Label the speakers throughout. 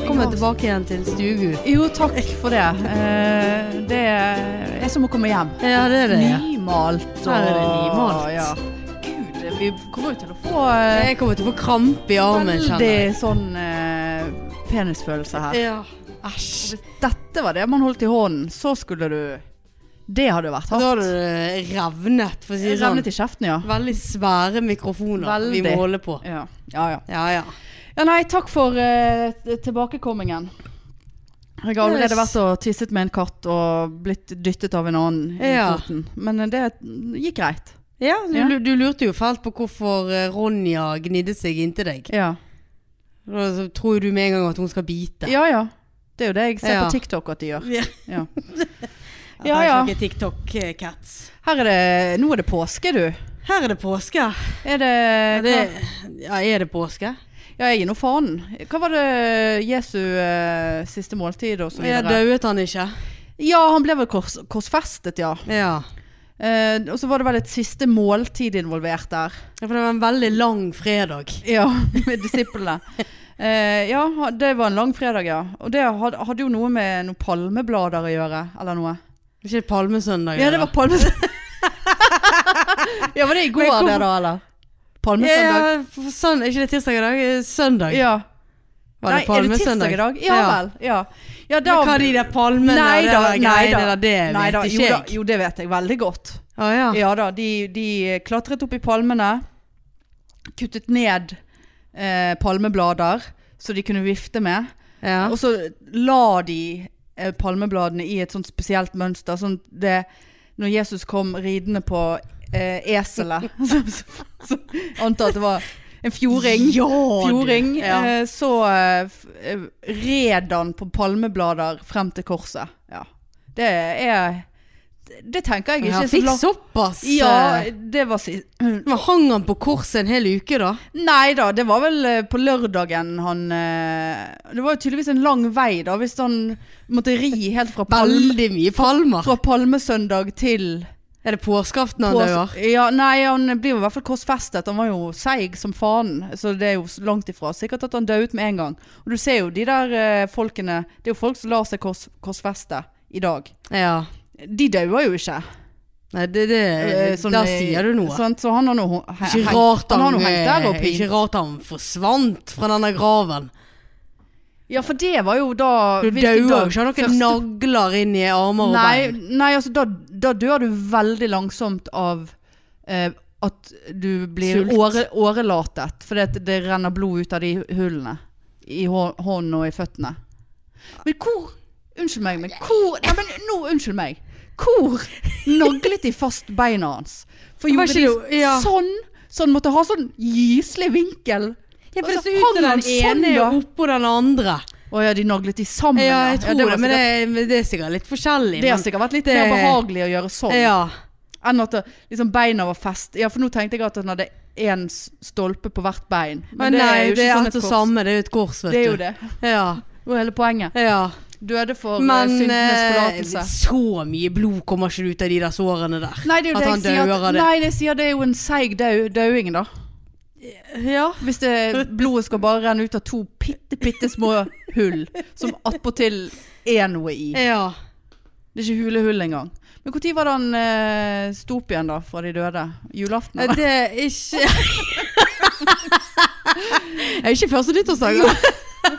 Speaker 1: tilbake igjen til stugu.
Speaker 2: Jo, takk for det. Eh, det er som å komme hjem.
Speaker 1: Ja, det er det. ja.
Speaker 2: Nymalt og
Speaker 1: Her er det nymalt.
Speaker 2: Ja. Gud, eh, vi kommer jo til å få eh,
Speaker 1: Jeg kommer til å få krampe i armen, kjenner jeg. Eh,
Speaker 2: veldig sånn eh, penisfølelse her.
Speaker 1: Ja.
Speaker 2: Æsj. Hvis dette var det man holdt i hånden, så skulle du Det hadde vært
Speaker 1: Da har
Speaker 2: hardt.
Speaker 1: du det revnet, for å si det sånn.
Speaker 2: Revnet i kjeften, ja.
Speaker 1: Veldig svære mikrofoner vi
Speaker 2: Veldig.
Speaker 1: må holde på.
Speaker 2: Ja, ja. ja.
Speaker 1: Ja, ja.
Speaker 2: Ja, nei, takk for eh, t- tilbakekommingen. Jeg har allerede
Speaker 1: Yes.
Speaker 2: vært og tisset med en katt og blitt dyttet av en annen i
Speaker 1: Ja.
Speaker 2: foten. Men eh, det gikk greit.
Speaker 1: Ja, du,
Speaker 2: Ja.
Speaker 1: du lurte jo fælt på hvorfor eh, Ronja gnidde seg inntil deg.
Speaker 2: Ja.
Speaker 1: Da så tror du med en gang at hun skal bite.
Speaker 2: ja ja. Det er jo det jeg ser
Speaker 1: Ja.
Speaker 2: på TikTok at de gjør.
Speaker 1: Ja.
Speaker 2: Ja. Ja, ja.
Speaker 1: TikTok-cats.
Speaker 2: Her er det, nå er det påske, du.
Speaker 1: Her er det påske.
Speaker 2: Er det,
Speaker 1: Er det, ja, er det påske?
Speaker 2: hva- Ja, jeg er nå fanen. Hva var det Jesu eh, siste måltid og så
Speaker 1: Ja,
Speaker 2: videre?
Speaker 1: dauet han ikke?
Speaker 2: Ja, han ble vel kors, korsfestet, ja.
Speaker 1: Ja.
Speaker 2: Eh, og så var det vel et siste måltid involvert der.
Speaker 1: Ja, For det var en veldig lang fredag.
Speaker 2: Ja, med disiplene. Eh, ja, ha- det var en lang fredag, ja. Og det hadde, hadde jo noe med noen palmeblader å gjøre, eller noe.
Speaker 1: Ikke det palmesøndag?
Speaker 2: Ja, det var palmesøndag. ja, var det i går
Speaker 1: Men hvorfor-
Speaker 2: det da, eller?
Speaker 1: palmesøndag.
Speaker 2: Palmesøndag?
Speaker 1: Ja, for søn- ikke det tirsdag i dag? eh, Søndag.
Speaker 2: Ja.
Speaker 1: Var det
Speaker 2: Nei, er det tirsdag
Speaker 1: palmesøndag?
Speaker 2: i dag? Ja,
Speaker 1: Ja.
Speaker 2: vel. Ja, ja
Speaker 1: Da, Men hva de der palmene
Speaker 2: Nei
Speaker 1: og det
Speaker 2: da,
Speaker 1: der
Speaker 2: nei
Speaker 1: greiene der,
Speaker 2: da.
Speaker 1: det
Speaker 2: Nei
Speaker 1: vet
Speaker 2: da, jo,
Speaker 1: ikke
Speaker 2: da,
Speaker 1: jeg.
Speaker 2: jo, det vet jeg veldig godt.
Speaker 1: Å ja.
Speaker 2: Ja da, de, de klatret opp i palmene, kuttet ned eh, palmeblader så de kunne vifte med.
Speaker 1: Ja.
Speaker 2: Og så la de eh, palmebladene i et sånt spesielt mønster. Sånn at det Når Jesus kom ridende på eh, eselet så, så, så jeg antar at det var en fjording.
Speaker 1: Ja, du.
Speaker 2: Fjording.
Speaker 1: Ja.
Speaker 2: Eh, så eh, f- eh, red han på palmeblader frem til korset. Ja. Det er det- Det tenker jeg
Speaker 1: Ja,
Speaker 2: ikke
Speaker 1: han fikk
Speaker 2: langt-
Speaker 1: såpass.
Speaker 2: Ja,
Speaker 1: eh,
Speaker 2: det var sist.
Speaker 1: Men hang han på korset en hel uke da?
Speaker 2: Nei da, det var vel eh, på lørdagen han eh, Det var jo tydeligvis en lang vei da, hvis han måtte ri helt fra, palme,
Speaker 1: Veldig mye palmer.
Speaker 2: fra palmesøndag til
Speaker 1: Er det påskeaften han
Speaker 2: pås-
Speaker 1: dauer?
Speaker 2: Ja, nei, han blir jo i hvert fall korsfestet. Han var jo seig som faen, så det er jo s- langt ifra. Sikkert at han døde med en gang. Og du ser jo de der eh, folkene Det er jo folk som lar seg kors, korsfeste i dag.
Speaker 1: Ja.
Speaker 2: De dauer jo ikke.
Speaker 1: Nei, det, det,
Speaker 2: Eh, sånn,
Speaker 1: der
Speaker 2: eh,
Speaker 1: sier du noe.
Speaker 2: sant? så han har nå ho- he-
Speaker 1: ikke
Speaker 2: hengt-
Speaker 1: rart
Speaker 2: han har
Speaker 1: han,
Speaker 2: nå hengt der
Speaker 1: eh,
Speaker 2: oppe.
Speaker 1: ikke rart han forsvant fra denne graven.
Speaker 2: Ja, for det var jo da
Speaker 1: Du
Speaker 2: hvilken
Speaker 1: dauer jo
Speaker 2: dag?
Speaker 1: ikke av noen
Speaker 2: Første-
Speaker 1: nagler inn i armer og
Speaker 2: Nei,
Speaker 1: bein.
Speaker 2: nei altså da, da dør du veldig langsomt av eh, at du blir
Speaker 1: Sult.
Speaker 2: åre, årelatet. Fordi at det renner blod ut av de hullene. I hå- hånden og i føttene. Men hvor Unnskyld meg, men hvor Nei, men nå, unnskyld meg. Hvor naglet de fast beina hans? For
Speaker 1: Var
Speaker 2: gjorde de
Speaker 1: ikke det jo- ja.
Speaker 2: sånn? Så han måtte ha sånn gyselig vinkel.
Speaker 1: Ja, for det
Speaker 2: Og så
Speaker 1: ser ut
Speaker 2: hang
Speaker 1: til
Speaker 2: han
Speaker 1: den
Speaker 2: sånn,
Speaker 1: ene
Speaker 2: ja.
Speaker 1: er oppå den andre.
Speaker 2: Å ja, de naglet de sammen.
Speaker 1: Ja, jeg tror
Speaker 2: det,
Speaker 1: det,
Speaker 2: var
Speaker 1: men
Speaker 2: sikkert-
Speaker 1: det, men det er sikkert litt forskjellig.
Speaker 2: det har
Speaker 1: men-
Speaker 2: sikkert vært litt
Speaker 1: det-
Speaker 2: mer behagelig å gjøre sånn.
Speaker 1: ja.
Speaker 2: Enn at det- liksom beina var fest Ja, for nå tenkte jeg at han hadde én s- stolpe på hvert bein.
Speaker 1: Men, nei, det er,
Speaker 2: sånn
Speaker 1: alt
Speaker 2: et
Speaker 1: det
Speaker 2: kors.
Speaker 1: samme. Det er jo et kors, vet
Speaker 2: Det er
Speaker 1: du.
Speaker 2: jo det.
Speaker 1: Ja,
Speaker 2: Det var hele poenget.
Speaker 1: ja.
Speaker 2: Døde for eh,
Speaker 1: Men
Speaker 2: syndenes
Speaker 1: eh,
Speaker 2: forlatelse.
Speaker 1: så mye blod kommer ikke ut av de der sårene der.
Speaker 2: Nei, det er jo
Speaker 1: at
Speaker 2: det jeg
Speaker 1: han
Speaker 2: sier.
Speaker 1: dauer av
Speaker 2: At,
Speaker 1: det.
Speaker 2: nei, det jeg sier det er jo en seig dau- dauing, da.
Speaker 1: Ja.
Speaker 2: Hvis det, blodet skal bare renne ut av to bitte, bitte små hull som attpåtil er noe i.
Speaker 1: ja.
Speaker 2: Det er ikke hulehull engang. Men når var det han eh, sto opp igjen, da, fra de døde? Julaften?
Speaker 1: Eh,
Speaker 2: eller?
Speaker 1: Det er ikke Er ikke første nyttårsdag? da?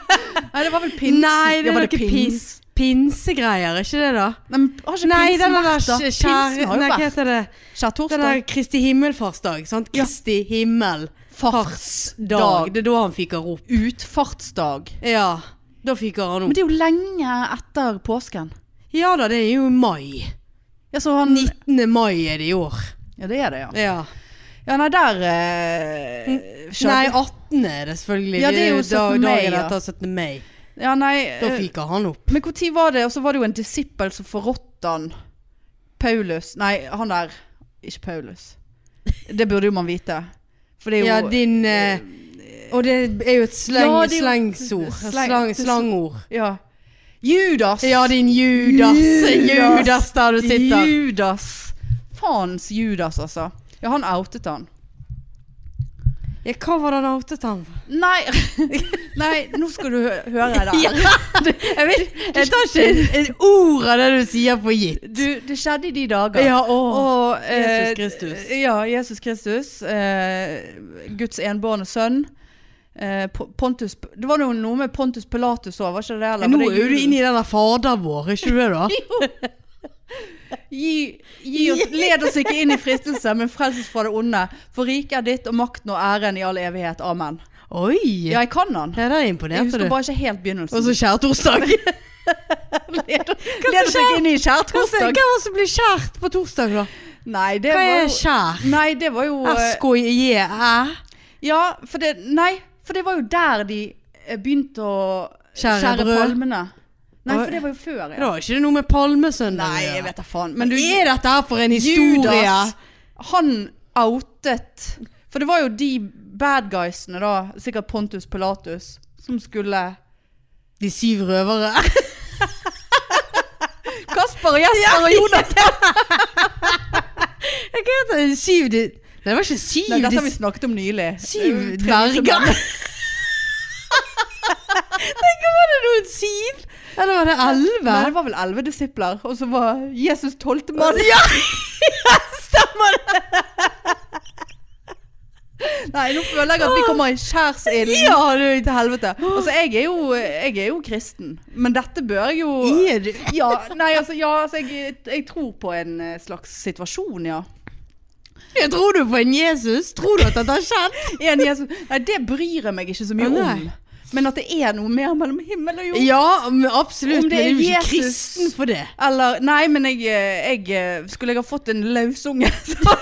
Speaker 2: Nei, det var vel pinsen.
Speaker 1: Nei, det
Speaker 2: Ja,
Speaker 1: er
Speaker 2: var
Speaker 1: noe pins. pinsegreier, er ikke det da?
Speaker 2: Nei, men har ikke
Speaker 1: Nei,
Speaker 2: pinsen
Speaker 1: den der
Speaker 2: vært, da?
Speaker 1: kjære
Speaker 2: Pinsen har jo
Speaker 1: Nei, hva
Speaker 2: vært.
Speaker 1: heter det? Den
Speaker 2: Skjærtorsdag.
Speaker 1: der Kristi himmelfartsdag, sant?
Speaker 2: Ja.
Speaker 1: Kristi himmelfartsdag.
Speaker 2: Dag.
Speaker 1: Det er da han fyker opp.
Speaker 2: Utfartsdag.
Speaker 1: Ja, da fyker han
Speaker 2: Men
Speaker 1: opp.
Speaker 2: det er jo lenge etter påsken.
Speaker 1: Ja da, det er jo i mai.
Speaker 2: Ja, så han
Speaker 1: 19. mai er det i år.
Speaker 2: Ja, det er det, ja.
Speaker 1: Ja.
Speaker 2: Ja, nei, der eh,
Speaker 1: Nei,
Speaker 2: skjær-
Speaker 1: 18. er det selvfølgelig.
Speaker 2: Ja, det er jo 17.
Speaker 1: dag,
Speaker 2: mai,
Speaker 1: dagen
Speaker 2: ja.
Speaker 1: etter 17. mai.
Speaker 2: Ja, nei
Speaker 1: Da
Speaker 2: eh,
Speaker 1: fyker han opp.
Speaker 2: Men når var det? Og så var det jo en disippel som forrådte han Paulus Nei, han der Ikke Paulus. Det burde jo man vite. For det er jo
Speaker 1: Ja, din eh, Og det er jo et sleng,
Speaker 2: Ja, det er jo-
Speaker 1: slengsord.
Speaker 2: Sleng-
Speaker 1: Slang, slangord.
Speaker 2: ja. Judas!
Speaker 1: Ja, din Judas.
Speaker 2: Judas.
Speaker 1: Judas, der du sitter.
Speaker 2: Judas. Faens Judas, altså. Ja, han outet han.
Speaker 1: Ja, hva var det han outet han for?
Speaker 2: Nei, nei nå skal du hø høre det.
Speaker 1: Ja. Jeg vet, jeg tar ikke et- et ord av det du sier for gitt.
Speaker 2: Du, det skjedde i de dager.
Speaker 1: Ja, å.
Speaker 2: Og, eh,
Speaker 1: Jesus Kristus.
Speaker 2: Ja, Jesus Kristus. Eh, Guds enbårne sønn. Eh, Po- Pontus, det var jo noe med Pontus Pilatus òg, var ikke det det? eller?
Speaker 1: Nå
Speaker 2: Var
Speaker 1: er
Speaker 2: det
Speaker 1: jo du
Speaker 2: julen?
Speaker 1: inne i den der fader vår, er ikke du det da?
Speaker 2: Gi, gi oss, led oss ikke inn i fristelse, men frels oss fra det onde. For riket er ditt, og makten og æren i all evighet. Amen.
Speaker 1: Oi!
Speaker 2: Ja, jeg kan den.
Speaker 1: Ja, der
Speaker 2: Jeg
Speaker 1: imponerte
Speaker 2: husker
Speaker 1: du.
Speaker 2: bare ikke helt
Speaker 1: Og
Speaker 2: begynnelsen.
Speaker 1: så kjærtorsdag.
Speaker 2: Led oss ikke inn i
Speaker 1: Hva
Speaker 2: kjærtorsdag.
Speaker 1: var det som ble skjært på torsdag, da?
Speaker 2: Nei, det
Speaker 1: Hva
Speaker 2: var
Speaker 1: er Ah,
Speaker 2: jo
Speaker 1: skjær?
Speaker 2: Nei, det var jo eh,
Speaker 1: S-K-J-Æ?
Speaker 2: Ja, for det Nei, for det var jo der de eh, begynte å
Speaker 1: Skjære
Speaker 2: skjære,
Speaker 1: brød.
Speaker 2: palmene. Nei,
Speaker 1: Oi.
Speaker 2: for det var jo før.
Speaker 1: Det var ikke noe med palmesøndag
Speaker 2: Nei,
Speaker 1: å gjøre.
Speaker 2: jeg vet da faen.
Speaker 1: Men
Speaker 2: Men du,
Speaker 1: er dette her for en historie?
Speaker 2: Judas, han outet For det var jo de bad guysene, da. Sikkert Pontus Pilatus. Som skulle
Speaker 1: De syv røvere.
Speaker 2: Kasper og Jesper og Jonas!
Speaker 1: Hva heter det? Syv de... Nei, det var ikke syv.
Speaker 2: Nei, dette
Speaker 1: de-
Speaker 2: har vi snakket om nylig.
Speaker 1: Syv
Speaker 2: Eh, tre
Speaker 1: dverger.
Speaker 2: visemenn.
Speaker 1: Var det noen syv? Eller var det elleve?
Speaker 2: Nei, det var vel elleve disipler. Og så var Jesus tolvte mann.
Speaker 1: Ja,
Speaker 2: Nei, nå føler jeg at vi kommer i skjærsilden ja, til helvete. Altså, jeg er, jo, jeg er jo kristen, men dette bør jeg jo
Speaker 1: er du?
Speaker 2: ja, Nei, altså, ja, altså jeg, jeg tror på en eh, slags situasjon, ja.
Speaker 1: Jeg tror du på en Jesus. Tror du at dette har skjedd?
Speaker 2: En Jesus, nei, det bryr jeg meg ikke så mye
Speaker 1: Å, nei.
Speaker 2: om. Men at det er noe mer mellom himmel og jord.
Speaker 1: Ja, men absolutt.
Speaker 2: Om det
Speaker 1: men du er
Speaker 2: er
Speaker 1: jo ikke
Speaker 2: Jesus.
Speaker 1: kristen for det.
Speaker 2: Eller Nei, men jeg, eh, jeg eh, Skulle jeg ha fått en lausunge, så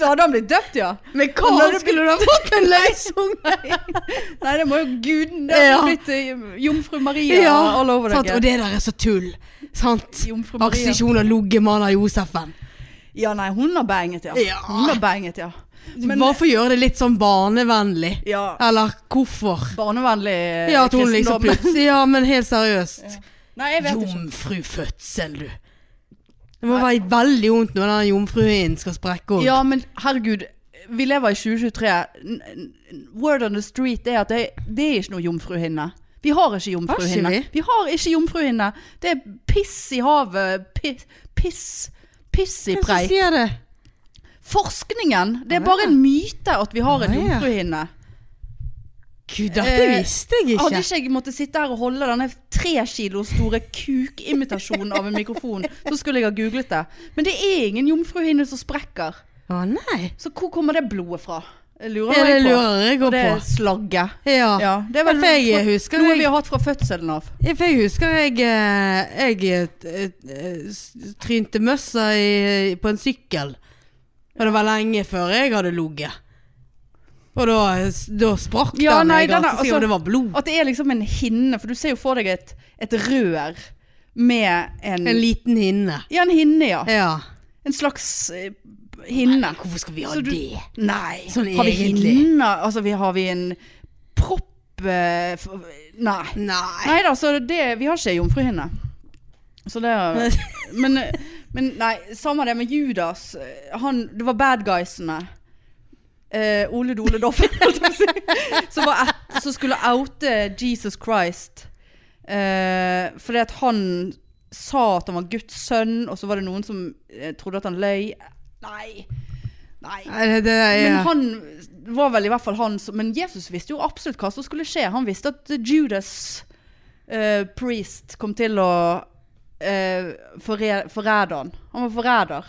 Speaker 2: Så hadde han blitt døpt, ja.
Speaker 1: Men
Speaker 2: hva
Speaker 1: skulle du ha fått en løsunge?
Speaker 2: Nei, det må jo guden Det hadde
Speaker 1: Ja.
Speaker 2: blitt eh, jomfru Maria
Speaker 1: Ja,
Speaker 2: all over
Speaker 1: Sant? Og
Speaker 2: deg.
Speaker 1: det der er så tull. Sant?
Speaker 2: Jomfru Maria.
Speaker 1: Aksjon og loggemann av Josefen.
Speaker 2: Ja, nei, hun har banget, ja.
Speaker 1: Ja.
Speaker 2: Hun har banget, ja. Men
Speaker 1: Bare for å gjøre det litt sånn barnevennlig.
Speaker 2: ja,
Speaker 1: Eller hvorfor?
Speaker 2: barnevennlig eh,
Speaker 1: Ja, at hun liksom
Speaker 2: kristendom.
Speaker 1: plutselig Ja, men helt seriøst.
Speaker 2: Nei, jeg vet ikke.
Speaker 1: Jomfrufødsel, du. Det må være veldig vondt når den jomfruhinnen skal sprekke opp.
Speaker 2: Ja, men herregud, vi lever i 2023. N- n- Word on the street er at det, det er ikke noe jomfruhinne. Vi har ikke jomfruhinne.
Speaker 1: Har
Speaker 2: Vi?
Speaker 1: ikke
Speaker 2: har ikke jomfruhinne. Det er piss i havet. Piss. Piss, piss i
Speaker 1: Hvem som
Speaker 2: preik.
Speaker 1: sier det?
Speaker 2: Forskningen. Det
Speaker 1: Ja.
Speaker 2: er bare en myte at vi har en
Speaker 1: Ja, ja.
Speaker 2: jomfruhinne.
Speaker 1: Gud, dette
Speaker 2: Eh,
Speaker 1: visste jeg
Speaker 2: Hadde
Speaker 1: ikke.
Speaker 2: ikke jeg måttet sitte her og holde denne tre kilo store kukimitasjonen av en mikrofon, så skulle jeg ha googlet det. Men det er ingen jomfruhinne som sprekker.
Speaker 1: Å nei.
Speaker 2: Så hvor kommer det blodet fra? Jeg lurer
Speaker 1: Ja, det
Speaker 2: meg på.
Speaker 1: lurer jeg
Speaker 2: Og
Speaker 1: òg
Speaker 2: det
Speaker 1: på.
Speaker 2: er slagget.
Speaker 1: Ja.
Speaker 2: Ja, det er vel
Speaker 1: for jeg husker
Speaker 2: noe
Speaker 1: jeg-
Speaker 2: vi har hatt fra fødselen av.
Speaker 1: Ja, for jeg husker jeg, eh, jeg eh, eh, s- trynte møssa i, på en sykkel. Og det var lenge før jeg hadde ligget. Og da, s- da sprakk
Speaker 2: Ja,
Speaker 1: den.
Speaker 2: nei,
Speaker 1: jeg
Speaker 2: den er-
Speaker 1: altså, sier jo
Speaker 2: altså-
Speaker 1: det var blod.
Speaker 2: At det er liksom en hinne, for du ser jo for deg et, et rør med en,
Speaker 1: En liten hinne.
Speaker 2: Ja, en hinne, ja.
Speaker 1: Ja.
Speaker 2: En slags eh, hinne.
Speaker 1: Hvorfor skal vi ha
Speaker 2: Så du-
Speaker 1: det?
Speaker 2: Nei.
Speaker 1: Sånn
Speaker 2: har vi
Speaker 1: egentlig.
Speaker 2: hinner? Altså, vi, har vi en propp eh, f- Nei.
Speaker 1: Nei.
Speaker 2: Nei da, så det, vi har ikke jomfruhinne. Så det Men, eh, men nei, samme det med Judas. Han, det var bad guysene. Eh, Ole Dole Doffen, holdt jeg på å si. Som var et- som skulle oute Jesus Christ. Eh, fordi at han sa at han var Guds sønn, og så var det noen som eh, trodde at han løy. Nei. Nei.
Speaker 1: Nei, det, det er
Speaker 2: Men han var vel i hvert fall han som Men Jesus visste jo absolutt hva som skulle skje. Han visste at Judas eh, Priest kom til å eh, forre- forræde han. Han var forræder.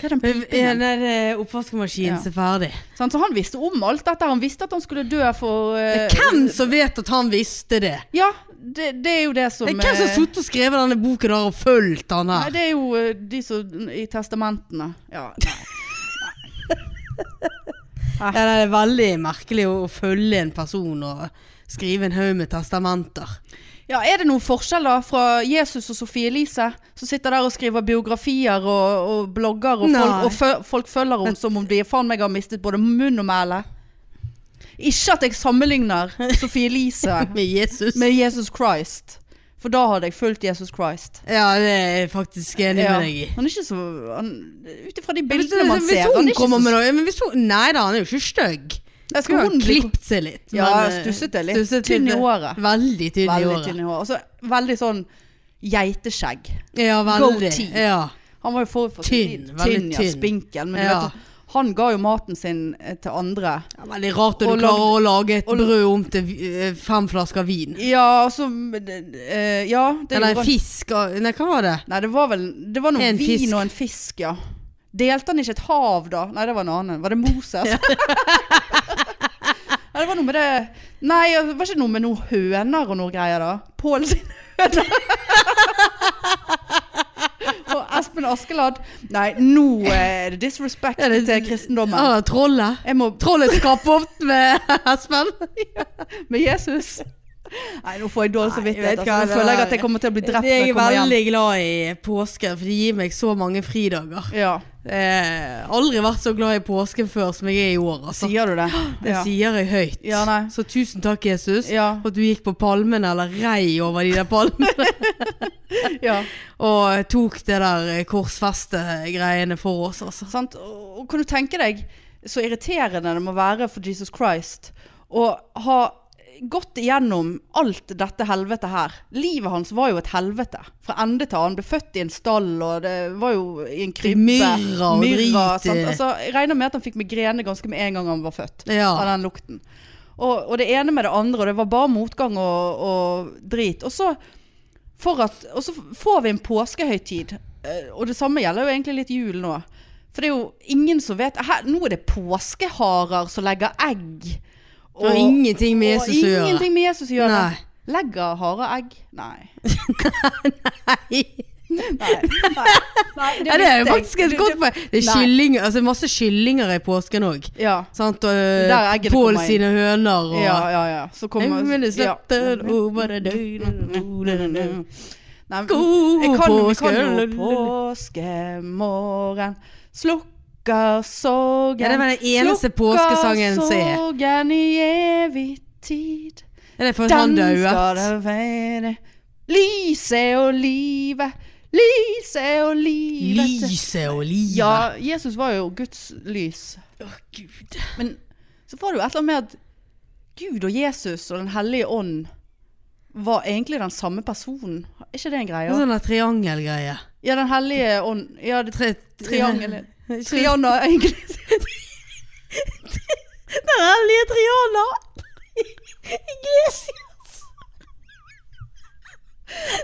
Speaker 2: Hva er den
Speaker 1: ja,
Speaker 2: pipingen?
Speaker 1: nei, det er eh, oppvaskmaskinen
Speaker 2: Ja.
Speaker 1: som er ferdig.
Speaker 2: Sant, Så han visste om alt dette. Han visste at han skulle dø for eh,
Speaker 1: Hvem som vet at han visste det?
Speaker 2: Ja, det, det er jo det som
Speaker 1: Det er Hvem som har
Speaker 2: eh,
Speaker 1: sittet og skrevet denne boken der og fulgt han
Speaker 2: Nei,
Speaker 1: her?
Speaker 2: det er jo eh, de som I testamentene. Ja. Nei.
Speaker 1: Ja, det er veldig merkelig å, å følge en person og skrive en haug med testamenter.
Speaker 2: Ja, Er det noen forskjell da fra Jesus og Sofie Elise, som sitter der og skriver biografier og, og blogger, og, folk,
Speaker 1: Nei.
Speaker 2: og fø, folk følger henne som om de faen meg har mistet både munn og mæle? Ikke at jeg sammenligner Sofie Elise
Speaker 1: Med Jesus.
Speaker 2: med Jesus Christ, For da hadde jeg fulgt Jesus Christ.
Speaker 1: Ja, det er jeg faktisk enig med deg i.
Speaker 2: Han er ikke så han- Ut ifra de
Speaker 1: Hvis,
Speaker 2: bildene man
Speaker 1: hvis
Speaker 2: ser
Speaker 1: hun
Speaker 2: han er ikke
Speaker 1: kommer
Speaker 2: så-
Speaker 1: med noe men hvis hun, Nei da, han er jo ikke stygg.
Speaker 2: Jeg
Speaker 1: Skulle
Speaker 2: hun
Speaker 1: ha
Speaker 2: bli-
Speaker 1: klippet seg litt.
Speaker 2: Ja,
Speaker 1: men, eh,
Speaker 2: stusset det litt.
Speaker 1: stusset
Speaker 2: Tynn i
Speaker 1: litt. eh,
Speaker 2: håret.
Speaker 1: Veldig tynn i
Speaker 2: Veldig
Speaker 1: håret.
Speaker 2: tynn i håret. Altså, veldig sånn geiteskjegg.
Speaker 1: Ja, veldig.
Speaker 2: Goatee.
Speaker 1: Ja.
Speaker 2: Han var jo forut for sin
Speaker 1: Tynn,
Speaker 2: tid.
Speaker 1: veldig
Speaker 2: ja,
Speaker 1: tynn.
Speaker 2: spinkel.
Speaker 1: Ja.
Speaker 2: Men du vet, han ga jo maten sin eh, til andre.
Speaker 1: Ja, Veldig rart at
Speaker 2: Og
Speaker 1: du klarer å lage et brød om til eh, fem flasker vin.
Speaker 2: Ja, altså eh, Ja, det
Speaker 1: Eller
Speaker 2: gjorde
Speaker 1: en
Speaker 2: han.
Speaker 1: fisk og- Nei, hva var det?
Speaker 2: Nei, det var vel Det var noe
Speaker 1: En
Speaker 2: vin
Speaker 1: fisk.
Speaker 2: og en fisk, ja. Delte han ikke et hav, da? Nei, det var en annen. Var det Moses? Nei, det var noe med det Nei, det var ikke noe med noen høner og noe greier, da? Pål sin høne. og Espen Askeladd. Nei, nå eh, er det disrespect
Speaker 1: Er det-
Speaker 2: til kristendommen.
Speaker 1: Ah, trollet.
Speaker 2: Jeg må
Speaker 1: Trollet skaphoft med Espen.
Speaker 2: med Jesus. Nei, nå får jeg dårlig
Speaker 1: Nei, jeg vet
Speaker 2: samvittighet.
Speaker 1: hva
Speaker 2: Altså.
Speaker 1: det
Speaker 2: Nå føler jeg
Speaker 1: er.
Speaker 2: at jeg kommer til å bli drept når
Speaker 1: Jeg
Speaker 2: jeg
Speaker 1: er
Speaker 2: kommer hjem.
Speaker 1: veldig glad i påsken, for det gir meg så mange fridager.
Speaker 2: Ja,
Speaker 1: Jeg har aldri vært så glad i påsken før som jeg er i år. Altså.
Speaker 2: sier du det?
Speaker 1: Det
Speaker 2: Ja.
Speaker 1: sier jeg høyt.
Speaker 2: Ja, nei.
Speaker 1: så tusen takk, Jesus,
Speaker 2: Ja.
Speaker 1: for at du gikk på palmene, eller rei over de der palmene,
Speaker 2: ja.
Speaker 1: og tok det der eh, korsfeste-greiene for oss, altså.
Speaker 2: Sant? Og og kan du tenke deg så irriterende det må være for Jesus Christ å ha gått igjennom alt dette helvete her. Livet hans var jo et helvete. Fra ende til annen. Ble født i en stall, og det var jo i en krybbe.
Speaker 1: Myrra og drit i.
Speaker 2: sant? Altså, jeg regner med at han fikk migrene ganske med en gang han var født.
Speaker 1: Ja.
Speaker 2: Av den lukten. Og, og det ene med det andre, og det var bare motgang og, og drit. Og så, for at, og så får vi en påskehøytid, eh, og det samme gjelder jo egentlig litt jul nå. For det er jo ingen som vet her, Nå er det påskeharer som legger egg.
Speaker 1: Det har ingenting med Jesus å gjøre.
Speaker 2: ingenting med Jesus å gjøre.
Speaker 1: Nei.
Speaker 2: Legger harer egg? Nei.
Speaker 1: Nei,
Speaker 2: Nei. Nei. Nei,
Speaker 1: det, det er jo
Speaker 2: visste jeg.
Speaker 1: faktisk et
Speaker 2: Det-
Speaker 1: godt
Speaker 2: det-
Speaker 1: poeng. Det er
Speaker 2: Nei.
Speaker 1: kylling, altså masse kyllinger i påsken òg.
Speaker 2: Ja.
Speaker 1: Sant,
Speaker 2: Der er
Speaker 1: og eh,
Speaker 2: eggene
Speaker 1: Pål
Speaker 2: kommer inn.
Speaker 1: sine høner og
Speaker 2: ja, ja, ja. Så kommer
Speaker 1: Men det
Speaker 2: ja.
Speaker 1: sletter over det døgnet
Speaker 2: Nei, men-
Speaker 1: God
Speaker 2: Jeg kan, vi kan jo
Speaker 1: påske.
Speaker 2: påskemorgen slukker sorgen.
Speaker 1: Ja, det var den eneste
Speaker 2: slukker
Speaker 1: påskesangen som er.
Speaker 2: sorgen i evig tid.
Speaker 1: Er det for at han
Speaker 2: skal
Speaker 1: dauet?
Speaker 2: det være. Lyset og livet. Lyset og livet.
Speaker 1: Lyset og livet.
Speaker 2: Ja, Jesus var jo Guds lys.
Speaker 1: Å, Gud.
Speaker 2: Men så var det jo et eller annet med at Gud og Jesus og Den hellige ånd var egentlig den samme personen. Er ikke det en greie?
Speaker 1: En sånn der triangelgreie.
Speaker 2: Ja, Den hellige ånd Ja, det
Speaker 1: Tre,
Speaker 2: triangelet. Triana, egentlig.
Speaker 1: Den hellige Triana! Iglesias!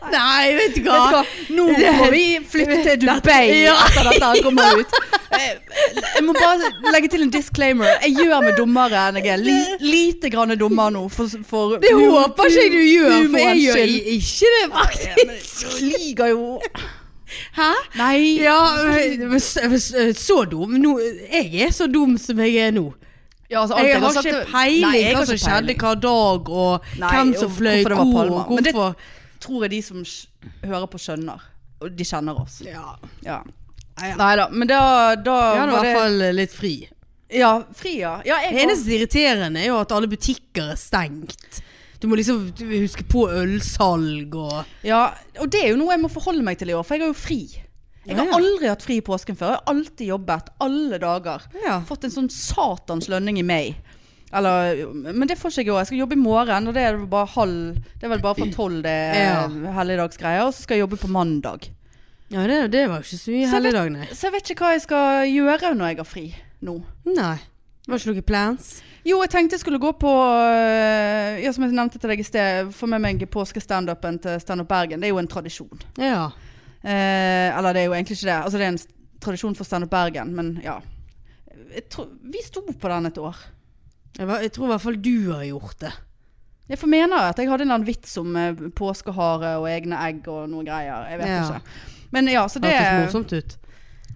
Speaker 1: Nei, vet du hva?
Speaker 2: Vet du hva? Nå må vi flytte til Dubai
Speaker 1: Ja.
Speaker 2: etter dette her kommer ut. Eh, Jeg må bare legge til en disclaimer. Jeg gjør meg dummere enn jeg er. Li, lite grann dummere nå. For, for
Speaker 1: Det håper ikke jeg du gjør, for jeg gjør i-
Speaker 2: humorens
Speaker 1: ikke det, faktisk.
Speaker 2: skyld. Liger jo
Speaker 1: Hæ?
Speaker 2: Nei.
Speaker 1: Ja, men- men så- men så eh, så dum. Nå, jeg er så dum som jeg er nå.
Speaker 2: Ja, altså, alt
Speaker 1: Jeg har
Speaker 2: sagt-
Speaker 1: ikke
Speaker 2: Nei, jeg
Speaker 1: peiling
Speaker 2: har
Speaker 1: hva som
Speaker 2: ikke
Speaker 1: skjedde
Speaker 2: peiling.
Speaker 1: hver dag, og
Speaker 2: Nei,
Speaker 1: hvem som
Speaker 2: og
Speaker 1: fløy
Speaker 2: hvorfor det var
Speaker 1: hvor,
Speaker 2: Palma.
Speaker 1: og
Speaker 2: Men det-
Speaker 1: hvorfor
Speaker 2: Tror jeg de som sk- hører på, skjønner. Og de kjenner oss.
Speaker 1: Ja,
Speaker 2: Ja.
Speaker 1: Ja, ja.
Speaker 2: Nei da. Men da, da
Speaker 1: jeg hadde i hvert
Speaker 2: var det
Speaker 1: fall eh, litt fri.
Speaker 2: Ja, fri, ja. ja jeg
Speaker 1: Det eneste irriterende er jo at alle butikker er stengt. Du må liksom huske på ølsalg og
Speaker 2: Ja, og det er jo noe jeg må forholde meg til i år, for jeg har jo fri.
Speaker 1: Ja,
Speaker 2: Jeg har
Speaker 1: ja.
Speaker 2: aldri hatt fri i påsken før. Jeg har alltid jobbet, alle dager.
Speaker 1: Ja.
Speaker 2: Fått en sånn satans lønning i mai. Eller, men det får ikke jeg i år. Jeg skal jobbe i morgen, og det er vel bare halv Det er vel bare fra tolv det
Speaker 1: Ja.
Speaker 2: er helligdagsgreier. Og så skal jeg jobbe på mandag.
Speaker 1: Ja, det, det var jo ikke så mye
Speaker 2: Så jeg vet-
Speaker 1: helligdag, nei.
Speaker 2: Så jeg vet ikke hva jeg skal gjøre når jeg har fri nå.
Speaker 1: Nei. Det var ikke noen plans.
Speaker 2: Jo, jeg tenkte jeg skulle gå på øh, Ja, som jeg nevnte til deg i sted, få med meg påskestandupen til Standup Bergen. Det er jo en tradisjon.
Speaker 1: Ja.
Speaker 2: Eh, eller det er jo egentlig ikke det. Altså, det er en s- tradisjon for Standup Bergen, men ja. Jeg tror, vi sto på den et år.
Speaker 1: Jeg, var, jeg tror i hvert fall du har gjort det.
Speaker 2: Jeg får mener at jeg hadde en eller annen vits om eh, påskehare og egne egg og noe greier. Jeg vet
Speaker 1: Ja.
Speaker 2: ikke. Men ja, så
Speaker 1: Det
Speaker 2: det
Speaker 1: hørtes morsomt ut.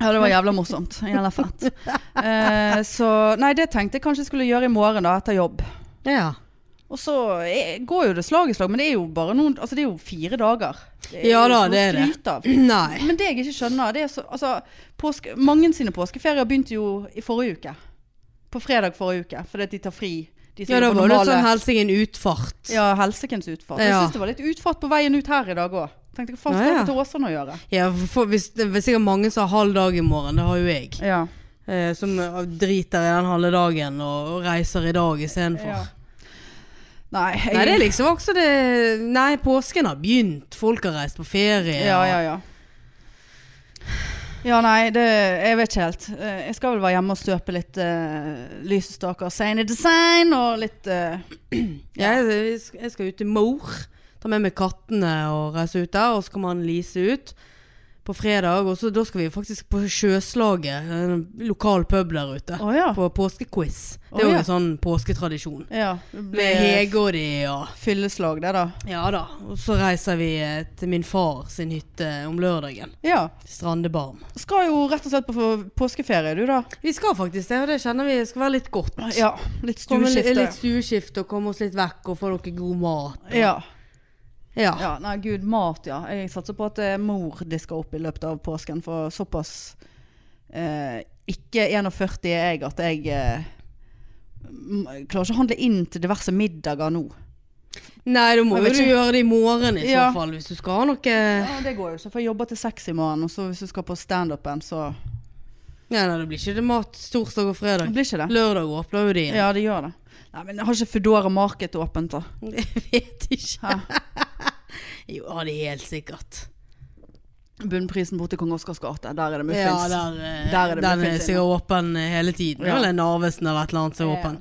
Speaker 2: Ja, det var jævla morsomt. Jævla fett. Eh, så nei, det tenkte jeg kanskje jeg skulle gjøre i morgen, da, etter jobb.
Speaker 1: Ja.
Speaker 2: Og så eh, går jo det slag i slag, men det er jo bare noen Altså, det er jo fire dager. Det
Speaker 1: Ja
Speaker 2: jo
Speaker 1: da,
Speaker 2: ikke noe
Speaker 1: det er det.
Speaker 2: å skryte av.
Speaker 1: Nei.
Speaker 2: Men det jeg ikke skjønner, det er så altså, påske, Mange sine påskeferier begynte jo i forrige uke. På fredag forrige uke, fordi at de tar fri De som
Speaker 1: Ja, da
Speaker 2: er
Speaker 1: var
Speaker 2: på
Speaker 1: det
Speaker 2: normale-
Speaker 1: sånn helsingen utfart.
Speaker 2: Ja, helsekens utfart. Jeg
Speaker 1: Ja.
Speaker 2: syns det var litt utfart på veien ut her i dag òg. Tenkte hva faen
Speaker 1: Ja,
Speaker 2: skal
Speaker 1: ja.
Speaker 2: dette til Åsane å gjøre?
Speaker 1: Ja, for- for, hvis, det er sikkert mange som har halv dag i morgen, det har jo jeg.
Speaker 2: Ja.
Speaker 1: Eh, som eh, driter i den halve dagen og og reiser i dag istedenfor.
Speaker 2: ja. Nei, jeg,
Speaker 1: Nei, det er liksom også det Nei, påsken har begynt. Folk har reist på ferie.
Speaker 2: Ja, ja, ja. Ja, nei, det, jeg vet ikke helt. Eh, Jeg skal vel være hjemme og støpe litt uh, lysestaker. Sane design og litt eh,
Speaker 1: Jeg, jeg sk- jeg skal ut til Mor. Ta med meg kattene og reise ut der. Og så kommer han Lise ut på fredag. Og så, da skal vi faktisk på Sjøslaget, en lokal pub der ute.
Speaker 2: Å ja.
Speaker 1: På påskequiz. Det
Speaker 2: Å,
Speaker 1: er jo
Speaker 2: ja.
Speaker 1: en sånn påsketradisjon.
Speaker 2: ja. Det
Speaker 1: Med
Speaker 2: blir
Speaker 1: Hege og de og
Speaker 2: fylleslag, det, da.
Speaker 1: Ja da. Og så reiser vi eh, til min far sin hytte om lørdagen.
Speaker 2: Ja.
Speaker 1: Strandebarm.
Speaker 2: Skal jo rett og slett på f- påskeferie, du, da.
Speaker 1: Vi skal faktisk det, og det kjenner vi skal være litt godt.
Speaker 2: Ja. Litt
Speaker 1: Komme li-
Speaker 2: stueskifte.
Speaker 1: Litt stueskifte og komme oss litt vekk og få noe god mat.
Speaker 2: Ja.
Speaker 1: Ja.
Speaker 2: ja. Nei, gud, mat, ja. Jeg satser på at eh, mor disker opp i løpet av påsken, for såpass eh, ikke 41 er jeg at jeg eh, m- klarer ikke å handle inn til diverse middager nå.
Speaker 1: Nei, du må
Speaker 2: Jeg
Speaker 1: jo
Speaker 2: vet
Speaker 1: du
Speaker 2: ikke.
Speaker 1: gjøre det i morgen i
Speaker 2: Ja.
Speaker 1: så fall, hvis du skal ha noe
Speaker 2: Ja, det går jo ikke, for jeg jobber til seks i morgen, og så hvis du skal på standupen, så
Speaker 1: Nei, nei, det blir ikke det mat torsdag og
Speaker 2: det
Speaker 1: fredag.
Speaker 2: blir ikke det.
Speaker 1: Lørdag åpner jo de igjen.
Speaker 2: Ja, det gjør det. Nei, men jeg har ikke Foodora Market åpent, da.
Speaker 1: Jeg vet ikke.
Speaker 2: Hæ?
Speaker 1: Jo, ja, det er helt sikkert.
Speaker 2: Bunnprisen borte i Kong Oscars gate. Der er det
Speaker 1: Ja,
Speaker 2: muffins.
Speaker 1: der, eh,
Speaker 2: Der er det
Speaker 1: den er
Speaker 2: muffins
Speaker 1: sikkert åpen eh, hele tiden.
Speaker 2: Ja.
Speaker 1: Eller Narvesen eller et eller annet som er åpen.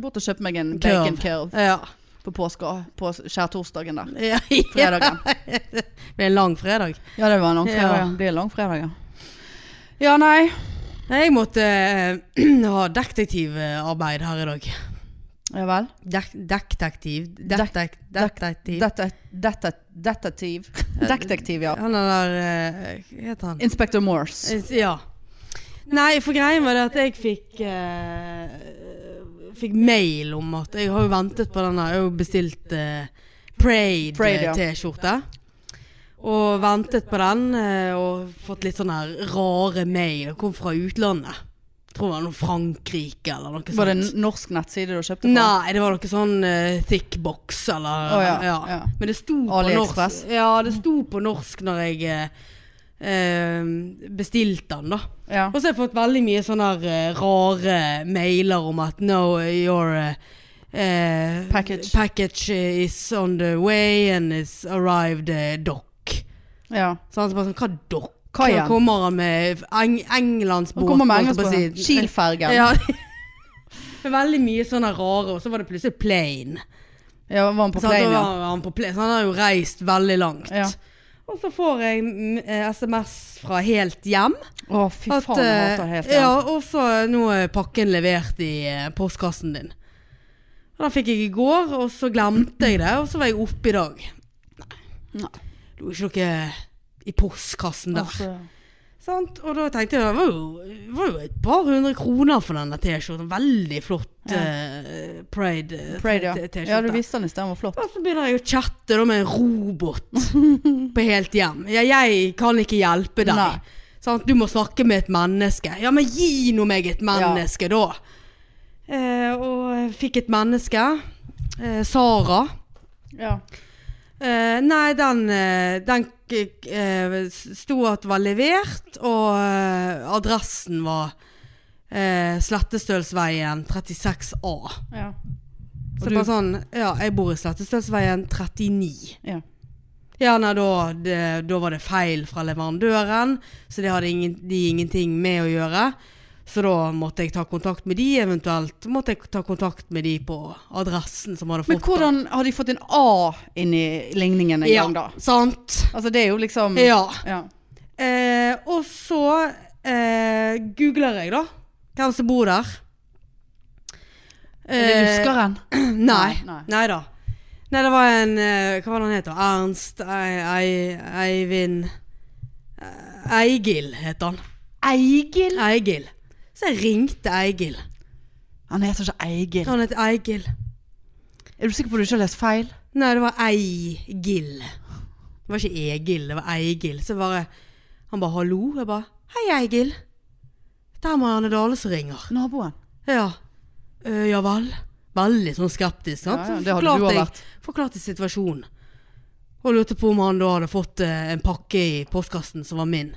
Speaker 2: Bort og kjøp meg en
Speaker 1: Curve.
Speaker 2: bacon curve
Speaker 1: Ja.
Speaker 2: på påske, på skjærtorsdagen der.
Speaker 1: ja.
Speaker 2: Fredagen.
Speaker 1: Det blir en lang fredag.
Speaker 2: Ja, det var en lang
Speaker 1: Ja.
Speaker 2: fredag. Ja. Det blir en lang fredag, ja. Ja, nei.
Speaker 1: Nei, Jeg måtte eh, ha detektivarbeid her i dag.
Speaker 2: Ja vel.
Speaker 1: Dek detektiv
Speaker 2: Dek-
Speaker 1: Detek Detektiv
Speaker 2: Dette, dette, detektiv. Detektiv, ja.
Speaker 1: Han er der eh, Hva heter han?
Speaker 2: Inspector Morse.
Speaker 1: Eh, Ja. Nei, for greien var det at jeg fikk eh, Fikk mail om at Jeg har jo ventet på denne. Jeg har jo bestilt eh,
Speaker 2: Parade, ja.
Speaker 1: Prade-T-skjorte. Og ventet på den, eh, og fått litt sånne her rare mail. Det kom fra utlandet. Tror det var noe Frankrike eller noe sånt.
Speaker 2: Var det en norsk nettside du kjøpte fra?
Speaker 1: Nei, det var noe sånn eh, thick box eller
Speaker 2: Å, ja,
Speaker 1: ja.
Speaker 2: ja.
Speaker 1: Men det sto på
Speaker 2: AliExpress.
Speaker 1: norsk. Ja, det sto på norsk når jeg eh, eh, bestilte den, da.
Speaker 2: Ja.
Speaker 1: Og så har jeg fått veldig mye sånne her, eh, rare mailer om at no, your eh, eh,
Speaker 2: Package.
Speaker 1: package is on the way and it's arrived eh, dock.
Speaker 2: ja.
Speaker 1: Så han så bare sånn, hva dock?
Speaker 2: Hva igjen?
Speaker 1: Nå kommer han med eng Englandsbåt.
Speaker 2: Nå kommer
Speaker 1: holdt jeg på å
Speaker 2: Mengersbåten.
Speaker 1: si.
Speaker 2: Kiel-fergen. Ja.
Speaker 1: Ja. Men veldig mye sånne rare, og så var det plutselig plane.
Speaker 2: var han på
Speaker 1: Så, da
Speaker 2: plane, ja.
Speaker 1: var han på plane. så han har jo reist veldig langt.
Speaker 2: Ja.
Speaker 1: Og så får jeg mm, eh, SMS fra helt hjem.
Speaker 2: Å, fy
Speaker 1: At,
Speaker 2: faen, jeg
Speaker 1: eh,
Speaker 2: hater helt
Speaker 1: ja,
Speaker 2: igjen.
Speaker 1: og så nå er pakken levert i eh, postkassen din. Og den fikk jeg i går, og så glemte jeg det, og så var jeg oppe i dag.
Speaker 2: Nei.
Speaker 1: Det lå ikke noe eh, i postkassen der.
Speaker 2: Altså,
Speaker 1: Sant? Og da tenkte jeg det var jo, var jo et par hundre kroner for denne T-skjorten. Veldig flott
Speaker 2: Ja.
Speaker 1: eh, Pride-T-skjorte.
Speaker 2: Pride, ja. Ja, du viste den i sted, den var flott.
Speaker 1: og så begynner jeg å chatte da med en robot på helt hjem. Ja, jeg kan ikke hjelpe deg.
Speaker 2: Nei.
Speaker 1: Sant? Du må snakke med et menneske. Ja, men gi nå meg et menneske, da. Eh, og jeg fikk et menneske. Eh, Sara.
Speaker 2: Ja.
Speaker 1: Eh, nei, den, eh, den k- eh, s- sto at var levert, og eh, adressen var eh, Slettestølsveien 36A.
Speaker 2: Ja.
Speaker 1: Så det
Speaker 2: Og du-
Speaker 1: bare sånn Ja, jeg bor i Slettestølsveien 39.
Speaker 2: Ja.
Speaker 1: Ja, nei, da, det, da var det feil fra leverandøren, så det hadde ingen, de ingenting med å gjøre. Så da måtte jeg ta kontakt med de, eventuelt måtte jeg ta kontakt med de på adressen som hadde fått
Speaker 2: Men hvordan har de fått en A inn i ligningen en
Speaker 1: ja,
Speaker 2: gang, da?
Speaker 1: Sant.
Speaker 2: Altså, det er jo liksom
Speaker 1: Ja.
Speaker 2: ja.
Speaker 1: Eh, og så eh, googler jeg da hvem som bor der. Eh,
Speaker 2: Er det juskeren?
Speaker 1: Nei.
Speaker 2: Nei.
Speaker 1: Nei da. Nei, det var en eh, Hva var det han het? da? Ernst Ei- Ei- Eivind eh, Eigil het han.
Speaker 2: Eigil?
Speaker 1: Eigil. Så jeg ringte Eigil.
Speaker 2: Han heter ikke Eigil.
Speaker 1: Han het Eigil.
Speaker 2: Er du sikker på at du ikke har lest feil?
Speaker 1: Nei, det var Eigil. Det var ikke Egil, det var Eigil. Så bare Han bare 'hallo'. Jeg bare 'hei, Eigil'. Det er Marianne Dale som ringer.
Speaker 2: Naboen.
Speaker 1: Ja. Eh, ja vel. Veldig sånn skeptisk. Sant?
Speaker 2: Ja, ja,
Speaker 1: Så
Speaker 2: det hadde du
Speaker 1: forklarte
Speaker 2: også
Speaker 1: jeg-
Speaker 2: vært.
Speaker 1: Forklarte situasjonen. Og lurte på om han da hadde fått eh, en pakke i postkassen som var min.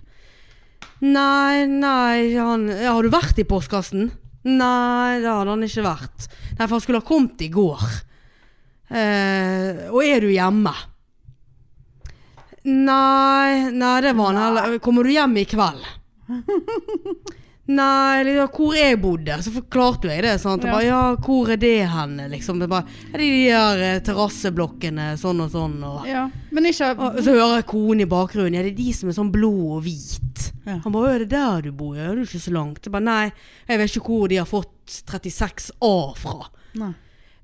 Speaker 1: Nei, nei han, ja, Har du vært i postkassen? Nei, det hadde han ikke vært. Nei, for han skulle ha kommet i går. Eh, og er du hjemme? Nei, nei, det var han heller. Kommer du hjem i kveld? Nei, liksom, hvor jeg bodde, så forklarte jeg det. Sant? Og
Speaker 2: Ja.
Speaker 1: bare, ja, hvor er det hen? Liksom. Det bare, "Ja, det er de der eh, terrasseblokkene, sånn og sånn. Og,
Speaker 2: Ja. Men ikke
Speaker 1: og så hører jeg konen i bakgrunnen. Ja, det er de som er sånn blå og hvit.
Speaker 2: Ja.
Speaker 1: Han bare, «Å, er det der du bor? Ja, det er jo ikke så langt. Jeg bare, nei, jeg vet ikke hvor de har fått 36A fra.
Speaker 2: Nei.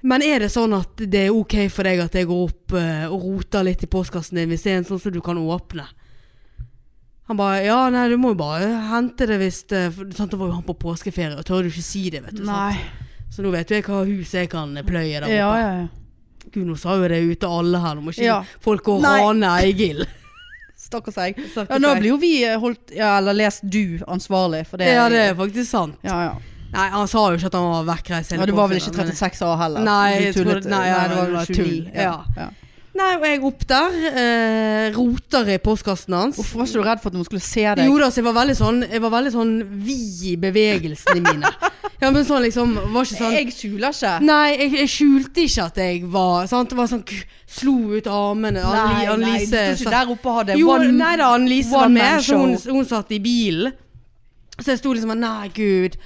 Speaker 1: Men er det sånn at det er ok for deg at jeg går opp eh, og roter litt i postkassen din hvis det er en sånn som du kan åpne? Han bare Ja, nei, du må jo bare hente det hvis det for- sant, Da var jo han på påskeferie, og tør du ikke si det, vet du. sant?
Speaker 2: Nei.
Speaker 1: Så nå vet jo jeg hva hus jeg kan pløye der oppe.
Speaker 2: Ja, ja, ja.
Speaker 1: Gud, nå sa jo det ute alle her. Nå må ikke
Speaker 2: Ja.
Speaker 1: folk gå og
Speaker 2: Nei.
Speaker 1: rane Eigil.
Speaker 2: Stakkars jeg.
Speaker 1: Stakkars
Speaker 2: Ja, nå
Speaker 1: jeg.
Speaker 2: blir jo vi eh, holdt Ja, eller lest du ansvarlig for det.
Speaker 1: Ja, det er faktisk sant.
Speaker 2: Ja, ja.
Speaker 1: Nei, han sa jo ikke at han var vekkreist hele
Speaker 2: ja det var vel ikke
Speaker 1: påskeferien, men-
Speaker 2: 36 A heller?
Speaker 1: Nei, jeg
Speaker 2: Du tullet.
Speaker 1: tror
Speaker 2: eh,
Speaker 1: det- nei, ja,
Speaker 2: det var
Speaker 1: det var
Speaker 2: vel 29.
Speaker 1: tull. Ja.
Speaker 2: ja.
Speaker 1: Nei, og jeg opp der. Eh, roter i postkassen hans.
Speaker 2: Hvorfor var ikke du redd for at noen skulle se deg?
Speaker 1: Jo da, så jeg var veldig sånn Jeg var veldig sånn vid i bevegelsene mine. Ja, men sånn liksom Var ikke sånn
Speaker 2: Jeg skjuler ikke.
Speaker 1: Nei, jeg, jeg skjulte ikke at jeg var sant? Det var sånn k- Slo ut armene. Anne-
Speaker 2: du sto
Speaker 1: Annelise
Speaker 2: ikke
Speaker 1: satt-
Speaker 2: der oppe og hadde
Speaker 1: Jo,
Speaker 2: one
Speaker 1: nei da, Annelise
Speaker 2: one
Speaker 1: var
Speaker 2: man
Speaker 1: med, så hun,
Speaker 2: show.
Speaker 1: hun satt i bilen. Så jeg sto liksom og Nei, gud.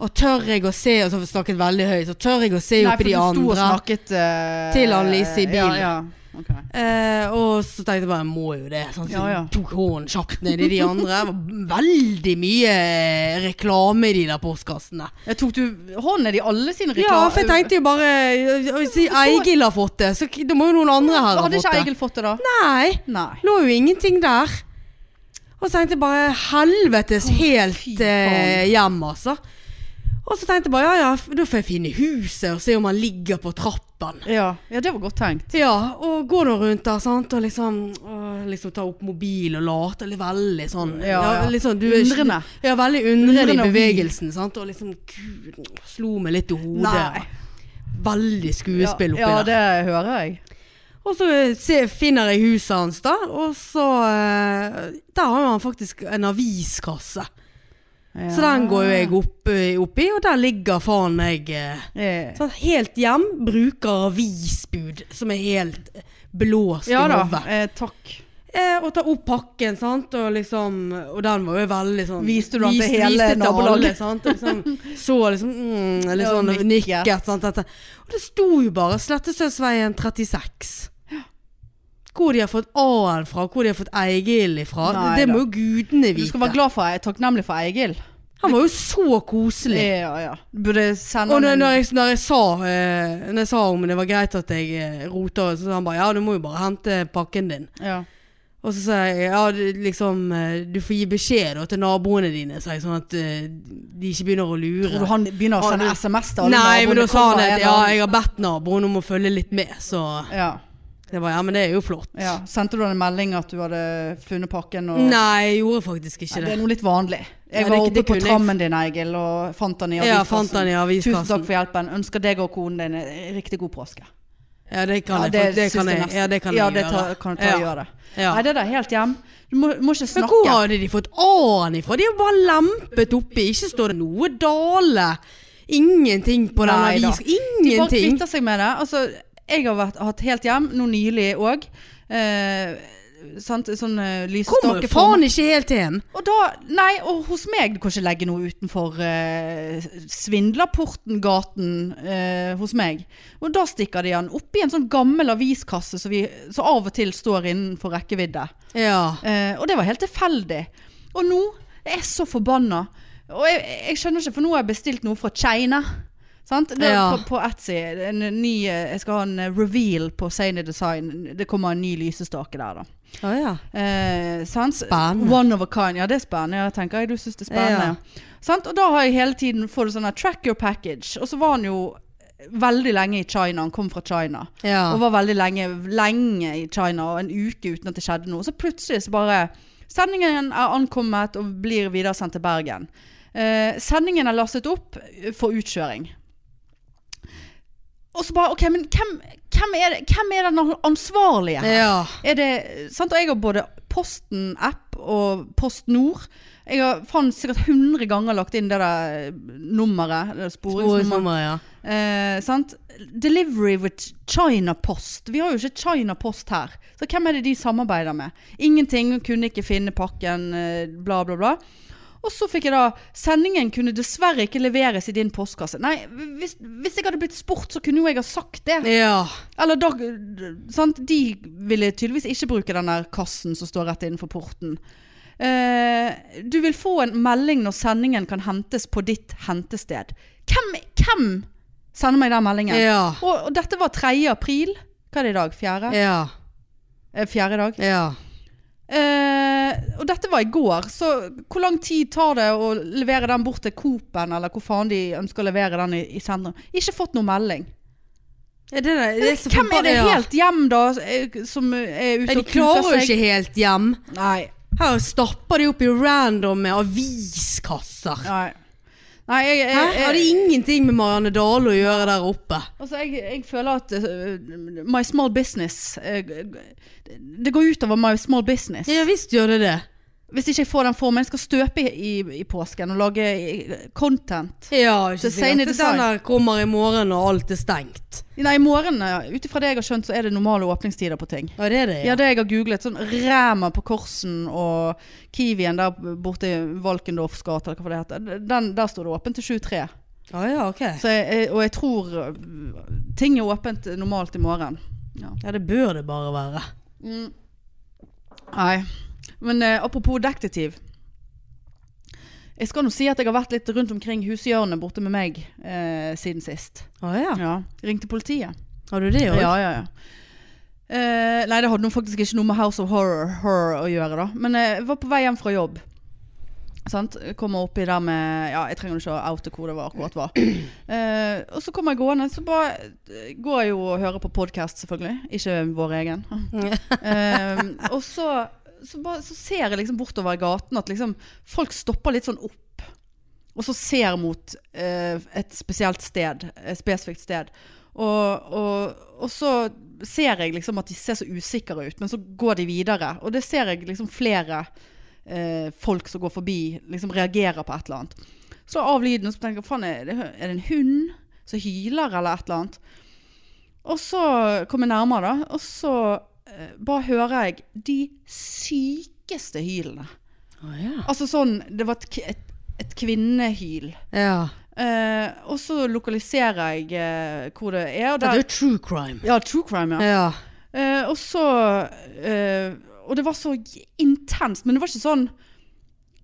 Speaker 1: Og tør jeg å se Og så snakket jeg veldig høyt. Så tør jeg å se
Speaker 2: Nei,
Speaker 1: opp i de
Speaker 2: for du sto og
Speaker 1: andre.
Speaker 2: snakket eh,
Speaker 1: Til Annelise i bilen.
Speaker 2: Ja, ja. Ok.
Speaker 1: Eh, og så tenkte jeg bare jeg må jo det. Sånn, så
Speaker 2: Ja, ja.
Speaker 1: Tok hånden kjapt ned i de andre. Det var veldig mye eh, reklame i de der postkassene.
Speaker 2: Jeg tok du hånden i alle sine
Speaker 1: Ja,
Speaker 2: reklamer?
Speaker 1: for jeg tenkte jo bare eh, Hvis Eigil har fått det, så k- da må jo noen andre her ha
Speaker 2: Hadde ikke
Speaker 1: fått det.
Speaker 2: Egil fått det da?
Speaker 1: Nei.
Speaker 2: Nei.
Speaker 1: Lå jo ingenting der. Og så tenkte jeg bare helvetes helt eh,
Speaker 2: faen.
Speaker 1: hjem, altså. Og så tenkte jeg bare ja ja, f- da får jeg finne huset og se om han ligger på trappen.
Speaker 2: Ja. ja, det var godt tenkt.
Speaker 1: Ja, og gå nå rundt der, sant, og liksom, og liksom ta opp mobil og late, eller veldig sånn.
Speaker 2: Ja, ja.
Speaker 1: litt sånn, du er ikke-
Speaker 2: Undrende.
Speaker 1: Ja, veldig undrende
Speaker 2: Undrende
Speaker 1: i
Speaker 2: og
Speaker 1: bevegelsen, sant, og liksom, gud, slo meg litt i hodet.
Speaker 2: Nei.
Speaker 1: Veldig skuespill oppi
Speaker 2: ja, ja,
Speaker 1: der.
Speaker 2: det hører jeg.
Speaker 1: Og så eh, se, finner jeg huset hans da, og så, eh, der har jo han faktisk en aviskasse. Så den går jo jeg opp, opp i, og der ligger faen meg... Eh,
Speaker 2: jeg
Speaker 1: Sånn, helt hjem bruker avisbud som er helt blåst
Speaker 2: Ja
Speaker 1: i
Speaker 2: da.
Speaker 1: hodet.
Speaker 2: Eh, takk.
Speaker 1: Eh, og ta opp pakken, sant, og liksom Og den var jo veldig sånn
Speaker 2: Viste du den til
Speaker 1: Viste-
Speaker 2: hele
Speaker 1: viste til
Speaker 2: nabolaget?
Speaker 1: alle, sant, og liksom, så liksom mm, Eller
Speaker 2: Ja,
Speaker 1: sånn
Speaker 2: nikket.
Speaker 1: nikket. Sant, dette. Og det sto jo bare Slettesøsveien 36. Hvor de har fått A-en fra, hvor de har fått Eigil ifra.
Speaker 2: Nei
Speaker 1: det
Speaker 2: da.
Speaker 1: må jo gudene
Speaker 2: Du
Speaker 1: vite.
Speaker 2: skal være glad for takknemlig for Egil. Eh,
Speaker 1: Han var jo så koselig.
Speaker 2: Ja, ja. Du burde sende
Speaker 1: Og når,
Speaker 2: han en-
Speaker 1: når, jeg, når, jeg sa, eh, når jeg sa om det var greit at jeg eh, rota, så sa han bare ja, du må jo bare hente pakken din.
Speaker 2: ja.
Speaker 1: Og så sa jeg ja, du, liksom eh, du får gi beskjed da, til naboene dine, sa jeg, sånn at eh, de ikke begynner å
Speaker 2: Tror du
Speaker 1: lure.
Speaker 2: han begynner å
Speaker 1: Har
Speaker 2: sende
Speaker 1: du-
Speaker 2: SMS til alle
Speaker 1: Nei, men
Speaker 2: naboene?
Speaker 1: da sa han
Speaker 2: Kommer
Speaker 1: at
Speaker 2: en
Speaker 1: ja,
Speaker 2: annen-
Speaker 1: jeg har bedt naboen om å følge litt med, så
Speaker 2: ja.
Speaker 1: jeg bare ja, men det er jo flott.
Speaker 2: ja. Sendte du han en melding at du hadde funnet pakken? Og...
Speaker 1: Nei, jeg gjorde faktisk
Speaker 2: Ja,
Speaker 1: ikke
Speaker 2: det
Speaker 1: det.
Speaker 2: er noe litt vanlig. Jeg
Speaker 1: Ja, det
Speaker 2: var
Speaker 1: er ikke-
Speaker 2: oppe
Speaker 1: det
Speaker 2: på
Speaker 1: kunne jeg-
Speaker 2: trammen din, Egil, og fant han i
Speaker 1: Ja, fant han i
Speaker 2: Tusen takk
Speaker 1: aviskassen.
Speaker 2: for hjelpen. Ønsker deg og konen din en riktig god påske.
Speaker 1: Ja, det kan jeg. Det,
Speaker 2: syns
Speaker 1: kan jeg,
Speaker 2: nesten-
Speaker 1: ja, det kan jeg
Speaker 2: ja,
Speaker 1: gjøre.
Speaker 2: det tar- kan du ta og
Speaker 1: Ja,
Speaker 2: gjøre.
Speaker 1: ja.
Speaker 2: Nei, det der er helt hjem. Du må, må ikke
Speaker 1: Men
Speaker 2: snakke.
Speaker 1: hvor hadde de fått A-en ifra? De er jo bare lempet oppi. Ikke står det noe dale. Ingenting på den
Speaker 2: Nei da.
Speaker 1: avisen.
Speaker 2: De bare
Speaker 1: Ingenting.
Speaker 2: kvitter seg med det. Altså, jeg har vært, hatt helt hjem, nå nylig òg. Eh, sant, sånn eh,
Speaker 1: Kommer jo
Speaker 2: lysestake
Speaker 1: faen ikke helt hjem.
Speaker 2: Og da, nei, og hos meg Du kan ikke legge noe utenfor eh, Svindlerporten gaten eh, Hos meg Og da stikker de han opp i en sånn gammel aviskasse Som vi, så av og til står innenfor rekkevidde
Speaker 1: Ja.
Speaker 2: eh, Og det var helt tilfeldig Og nå, jeg er så forbanna Og jeg, jeg skjønner ikke, for nå har jeg bestilt noe fra Kina Sant? Det er
Speaker 1: Ja.
Speaker 2: på, på Etsy en ny, eh, Jeg skal ha en eh, reveal på Seine Design Det kommer en ny lysestake der da
Speaker 1: Å ja.
Speaker 2: Eh, sant?
Speaker 1: Spennende.
Speaker 2: One of a kind. Ja, det er spennende. Ja, tenker jeg. Du syns det er
Speaker 1: Ja.
Speaker 2: spennende. Ja. Sant? Og da har jeg hele tiden fått sånn her track your package. Og så var han jo veldig lenge i China. Han kom fra China.
Speaker 1: Ja.
Speaker 2: Og var veldig lenge, lenge i China, og en uke uten at det skjedde noe. Så plutselig så bare Sendingen er ankommet og blir videresendt til Bergen. Eh, sendingen er lastet opp for utkjøring. Og så bare OK, men hvem, hvem, er, det, hvem er den ansvarlige her?
Speaker 1: Ja.
Speaker 2: Er det, sant? Og jeg har både Posten-app og Post Nord. Jeg har faen sikkert 100 ganger lagt inn det der nummeret, det der sporingsnummeret.
Speaker 1: Sporingsnummer, ja.
Speaker 2: Eh, sant? Delivery with China Post. Vi har jo ikke China Post her. Så hvem er det de samarbeider med? Ingenting, kunne ikke finne pakken, eh, bla, bla, bla. Og så fikk jeg da Sendingen kunne dessverre ikke leveres i din postkasse. Nei, hvis, hvis jeg hadde blitt spurt, så kunne jo jeg ha sagt det.
Speaker 1: Ja.
Speaker 2: Eller da Sant? De ville tydeligvis ikke bruke den der kassen som står rett innenfor porten. Eh, du vil få en melding når sendingen kan hentes på ditt hentested. Hvem, hvem sender meg den meldingen?
Speaker 1: Ja.
Speaker 2: Og, og dette var 3. april. Hva er det i dag? Fjerde?
Speaker 1: Ja.
Speaker 2: Eh, Fjerde dag.
Speaker 1: Ja.
Speaker 2: Eh, og dette var i går, så hvor lang tid tar det å levere den bort til Coop-en, eller hvor faen de ønsker å levere den i, i sentrum? Ikke fått noen melding.
Speaker 1: Er det det? det så
Speaker 2: Hvem er
Speaker 1: forbanna-
Speaker 2: det
Speaker 1: ja.
Speaker 2: helt hjem, da, eh, som er
Speaker 1: Nei,
Speaker 2: ute
Speaker 1: De
Speaker 2: og
Speaker 1: klarer
Speaker 2: kuker
Speaker 1: jo
Speaker 2: seg?
Speaker 1: ikke helt hjem.
Speaker 2: Nei.
Speaker 1: Her stapper de opp i random aviskasser.
Speaker 2: Nei. Nei, jeg, jeg,
Speaker 1: Hæ?
Speaker 2: jeg,
Speaker 1: Har det ingenting med Marianne Dale å gjøre der oppe?
Speaker 2: Altså, jeg, jeg føler at øh, my small business øh, Det går ut over my small business.
Speaker 1: Ja visst gjør det det.
Speaker 2: Hvis ikke jeg får den formen. Jeg skal støpe i, i, i påsken og lage øh, content.
Speaker 1: Ja, ikke
Speaker 2: Så Sane
Speaker 1: sant.
Speaker 2: Design.
Speaker 1: Den der kommer i morgen og alt er stengt.
Speaker 2: Nei, i morgen, øh, ut ifra det jeg har skjønt, så er det normale åpningstider på ting.
Speaker 1: Ja, det er det.
Speaker 2: Ja, det jeg har googlet. Sånn Ræma på Korsen og Kiwien der borte i Valkendorfs gate, eller hva det heter. Den, der står det åpent til 23.
Speaker 1: Ja, ja, ok.
Speaker 2: Så jeg, jeg, og jeg tror øh, ting er åpent normalt i morgen. Ja.
Speaker 1: Ja, det bør det bare være.
Speaker 2: Nei. Men eh, apropos detektiv. Jeg skal nå si at jeg har vært litt rundt omkring hushjørnet borte med meg eh, siden sist.
Speaker 1: Å ja.
Speaker 2: Ja. Ringte politiet.
Speaker 1: Har du det òg?
Speaker 2: Ja, ja, ja. Eh, nei, det hadde nå faktisk ikke noe med House of Horror, horror å gjøre, da. Men eh, jeg var på vei hjem fra jobb. Sant? Kommer oppi der med Ja, jeg trenger ikke å oute hvor det var akkurat var. Eh, og så kommer jeg gående, så bare eh, går jeg jo og hører på podkast, selvfølgelig. Ikke vår egen. Ehm, og så, så, bare, så ser jeg liksom bortover i gaten at liksom, folk stopper litt sånn opp. Og så ser mot eh, et spesielt sted, et spesifikt sted. Og, og, og så ser jeg liksom at de ser så usikre ut, men så går de videre. Og det ser jeg liksom flere eh, folk som går forbi, liksom reagerer på et eller annet. Så av lyden og så tenker jeg, faen, er det, er det en hund som hyler eller et eller annet? Og så kom jeg nærmere, da. Og så eh, bare hører jeg de sykeste hylene.
Speaker 1: Å, ja.
Speaker 2: Altså sånn Det var et, k- et, et kvinnehyl.
Speaker 1: ja.
Speaker 2: Eh, og så lokaliserer jeg eh, hvor det er. Og
Speaker 1: Det er
Speaker 2: der,
Speaker 1: jo true crime.
Speaker 2: ja, true crime, ja.
Speaker 1: Ja.
Speaker 2: Eh, og så eh, Og det var så j- intenst, men det var ikke sånn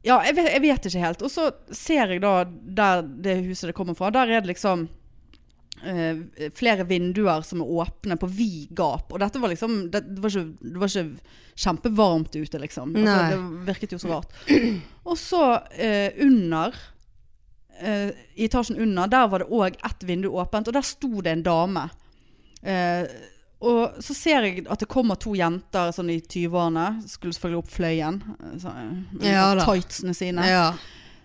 Speaker 2: Ja, jeg vet, jeg vet ikke helt. Og så ser jeg da der det huset det kommer fra. Der er det liksom eh, flere vinduer som er åpne på vid gap. Og dette var liksom Det, det, var, ikke, det var ikke kjempevarmt ute, liksom. Altså,
Speaker 1: Nei.
Speaker 2: det virket jo så rart. Og så eh, under eh, I etasjen under, der var det òg ett vindu åpent, og der sto det en dame. Eh, og så ser jeg at det kommer to jenter sånn i 20-årene. Skulle selvfølgelig opp fløyen. eh, Så, eh,
Speaker 1: Ja da.
Speaker 2: tightsene sine.
Speaker 1: ja.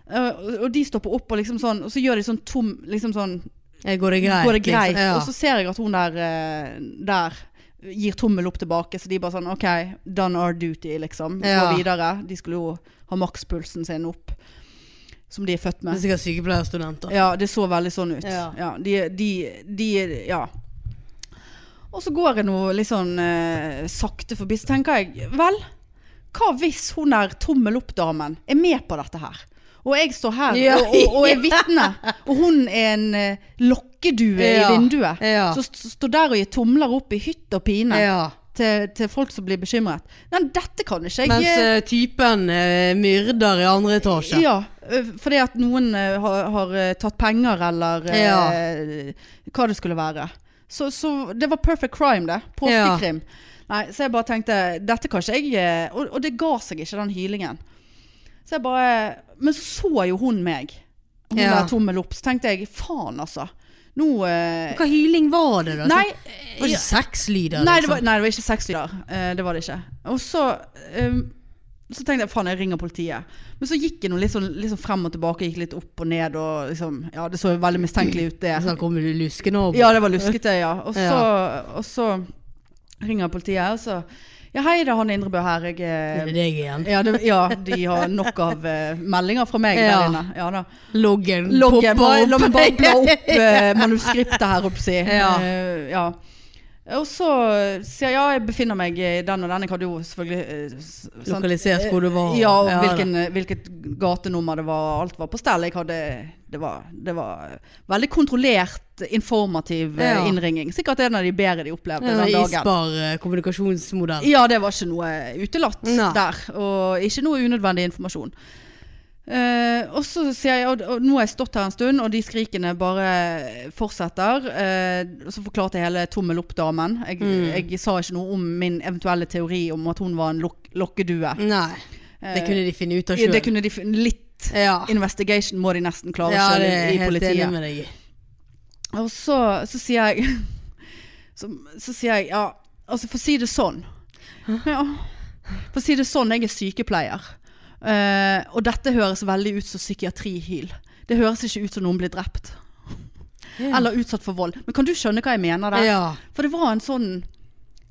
Speaker 2: Eh, og- og de stopper opp, og, liksom sånn, og så gjør de sånn tom liksom sånn,
Speaker 1: Eh, Går det greit?
Speaker 2: Går det greit?
Speaker 1: Liksom? Ja.
Speaker 2: Og så ser jeg at hun der, eh, der gir tommel opp tilbake. Så de bare sånn OK, done our duty, liksom.
Speaker 1: Ja.
Speaker 2: Gå videre. De skulle jo ha makspulsen sin opp. Som de er født
Speaker 1: Det
Speaker 2: med.
Speaker 1: er sikkert sykepleierstudenter.
Speaker 2: Ja, det så veldig sånn ut. Ja.
Speaker 1: Ja.
Speaker 2: de, de, de, ja. Og så går jeg nå litt sånn eh, sakte forbi, så tenker jeg Vel, hva hvis hun der tommel opp-damen er med på dette her? Og jeg står her
Speaker 1: Ja.
Speaker 2: og, og, og er vitne, og hun er en eh, lokkedue i
Speaker 1: Ja.
Speaker 2: vinduet.
Speaker 1: Ja.
Speaker 2: Så st- står der og gir tomler opp i hytt og pine
Speaker 1: ja.
Speaker 2: til, til folk som blir bekymret. Nei, dette kan ikke jeg
Speaker 1: Mens eh, typen eh, myrder i andre etasje.
Speaker 2: ja, ø, fordi at noen ø, har, har ø, tatt penger eller ø, hva det skulle være. Så, så det var perfect crime, det. Påskekrim. Nei, så jeg bare tenkte Dette kan ikke jeg ø, Og, og det ga seg ikke, den hylingen. Så jeg bare Men så så jo hun meg. Hun
Speaker 1: Ja.
Speaker 2: der tommel opp. Så tenkte jeg faen, altså. Nå ø,
Speaker 1: Hva hyling var det, da?
Speaker 2: Nei,
Speaker 1: det var ikke sexlyder?
Speaker 2: Nei, det var,
Speaker 1: liksom?
Speaker 2: nei, det var ikke sexlyder. Eh, det var det ikke. Og så um, Så tenkte jeg faen, jeg ringer politiet. Men så gikk jeg nå litt sånn, litt sånn frem og tilbake, gikk litt opp og ned og liksom Ja, det så jo veldig mistenkelig ut, det.
Speaker 1: Så kommer du luskende over.
Speaker 2: Ja, det var luskete, ja. Og så, og så ringer politiet, og så Ja, hei, det er han Indrebø her. Jeg
Speaker 1: Det er
Speaker 2: er
Speaker 1: deg igjen.
Speaker 2: ja, det, ja, de har nok av eh, meldinger fra meg
Speaker 1: Ja.
Speaker 2: der inne. Ja da.
Speaker 1: Loggen
Speaker 2: Loggen, bare, la meg bare bla opp
Speaker 1: Ja.
Speaker 2: eh, manuskriptet her, opp si.
Speaker 1: Ja.
Speaker 2: Eh, ja. Og så sier jeg ja, jeg befinner meg i den og den. Jeg hadde jo selvfølgelig eh, s- sant-
Speaker 1: Lokalisert hvor du var.
Speaker 2: Ja, og
Speaker 1: da.
Speaker 2: hvilken, hvilket gatenummer det var. Alt var på stell. Jeg hadde, det, var, det var veldig kontrollert, informativ eh,
Speaker 1: Ja.
Speaker 2: innringing. Sikkert en av de bedre de opplevde
Speaker 1: Ja,
Speaker 2: den dagen.
Speaker 1: Isbar eh, kommunikasjonsmodell.
Speaker 2: Ja, det var ikke noe utelatt
Speaker 1: Nei.
Speaker 2: der. Og ikke noe unødvendig informasjon. Eh, og så sier jeg og, og nå har jeg stått her en stund, og de skrikene bare fortsetter. Eh, og så forklarte jeg hele tommel opp-damen. Jeg,
Speaker 1: Mm.
Speaker 2: jeg sa ikke noe om min eventuelle teori om at hun var en lok lokkedue. Eh,
Speaker 1: Nei, Eh, det kunne de finne ut av
Speaker 2: Det
Speaker 1: sjøl.
Speaker 2: kunne de fin- Litt
Speaker 1: Ja.
Speaker 2: investigation må de nesten klare
Speaker 1: ja,
Speaker 2: selv
Speaker 1: det er
Speaker 2: i- i
Speaker 1: helt
Speaker 2: politiet.
Speaker 1: enig med deg i.
Speaker 2: Og så, så sier jeg så, så sier jeg, ja, altså for å si det sånn ja, For å si det sånn, jeg er sykepleier. Eh, og dette høres veldig ut som psykiatrihyl. Det høres ikke ut som noen blir drept.
Speaker 1: Ja.
Speaker 2: Eller utsatt for vold. Men kan du skjønne hva jeg mener der?
Speaker 1: Ja.
Speaker 2: For det var en sånn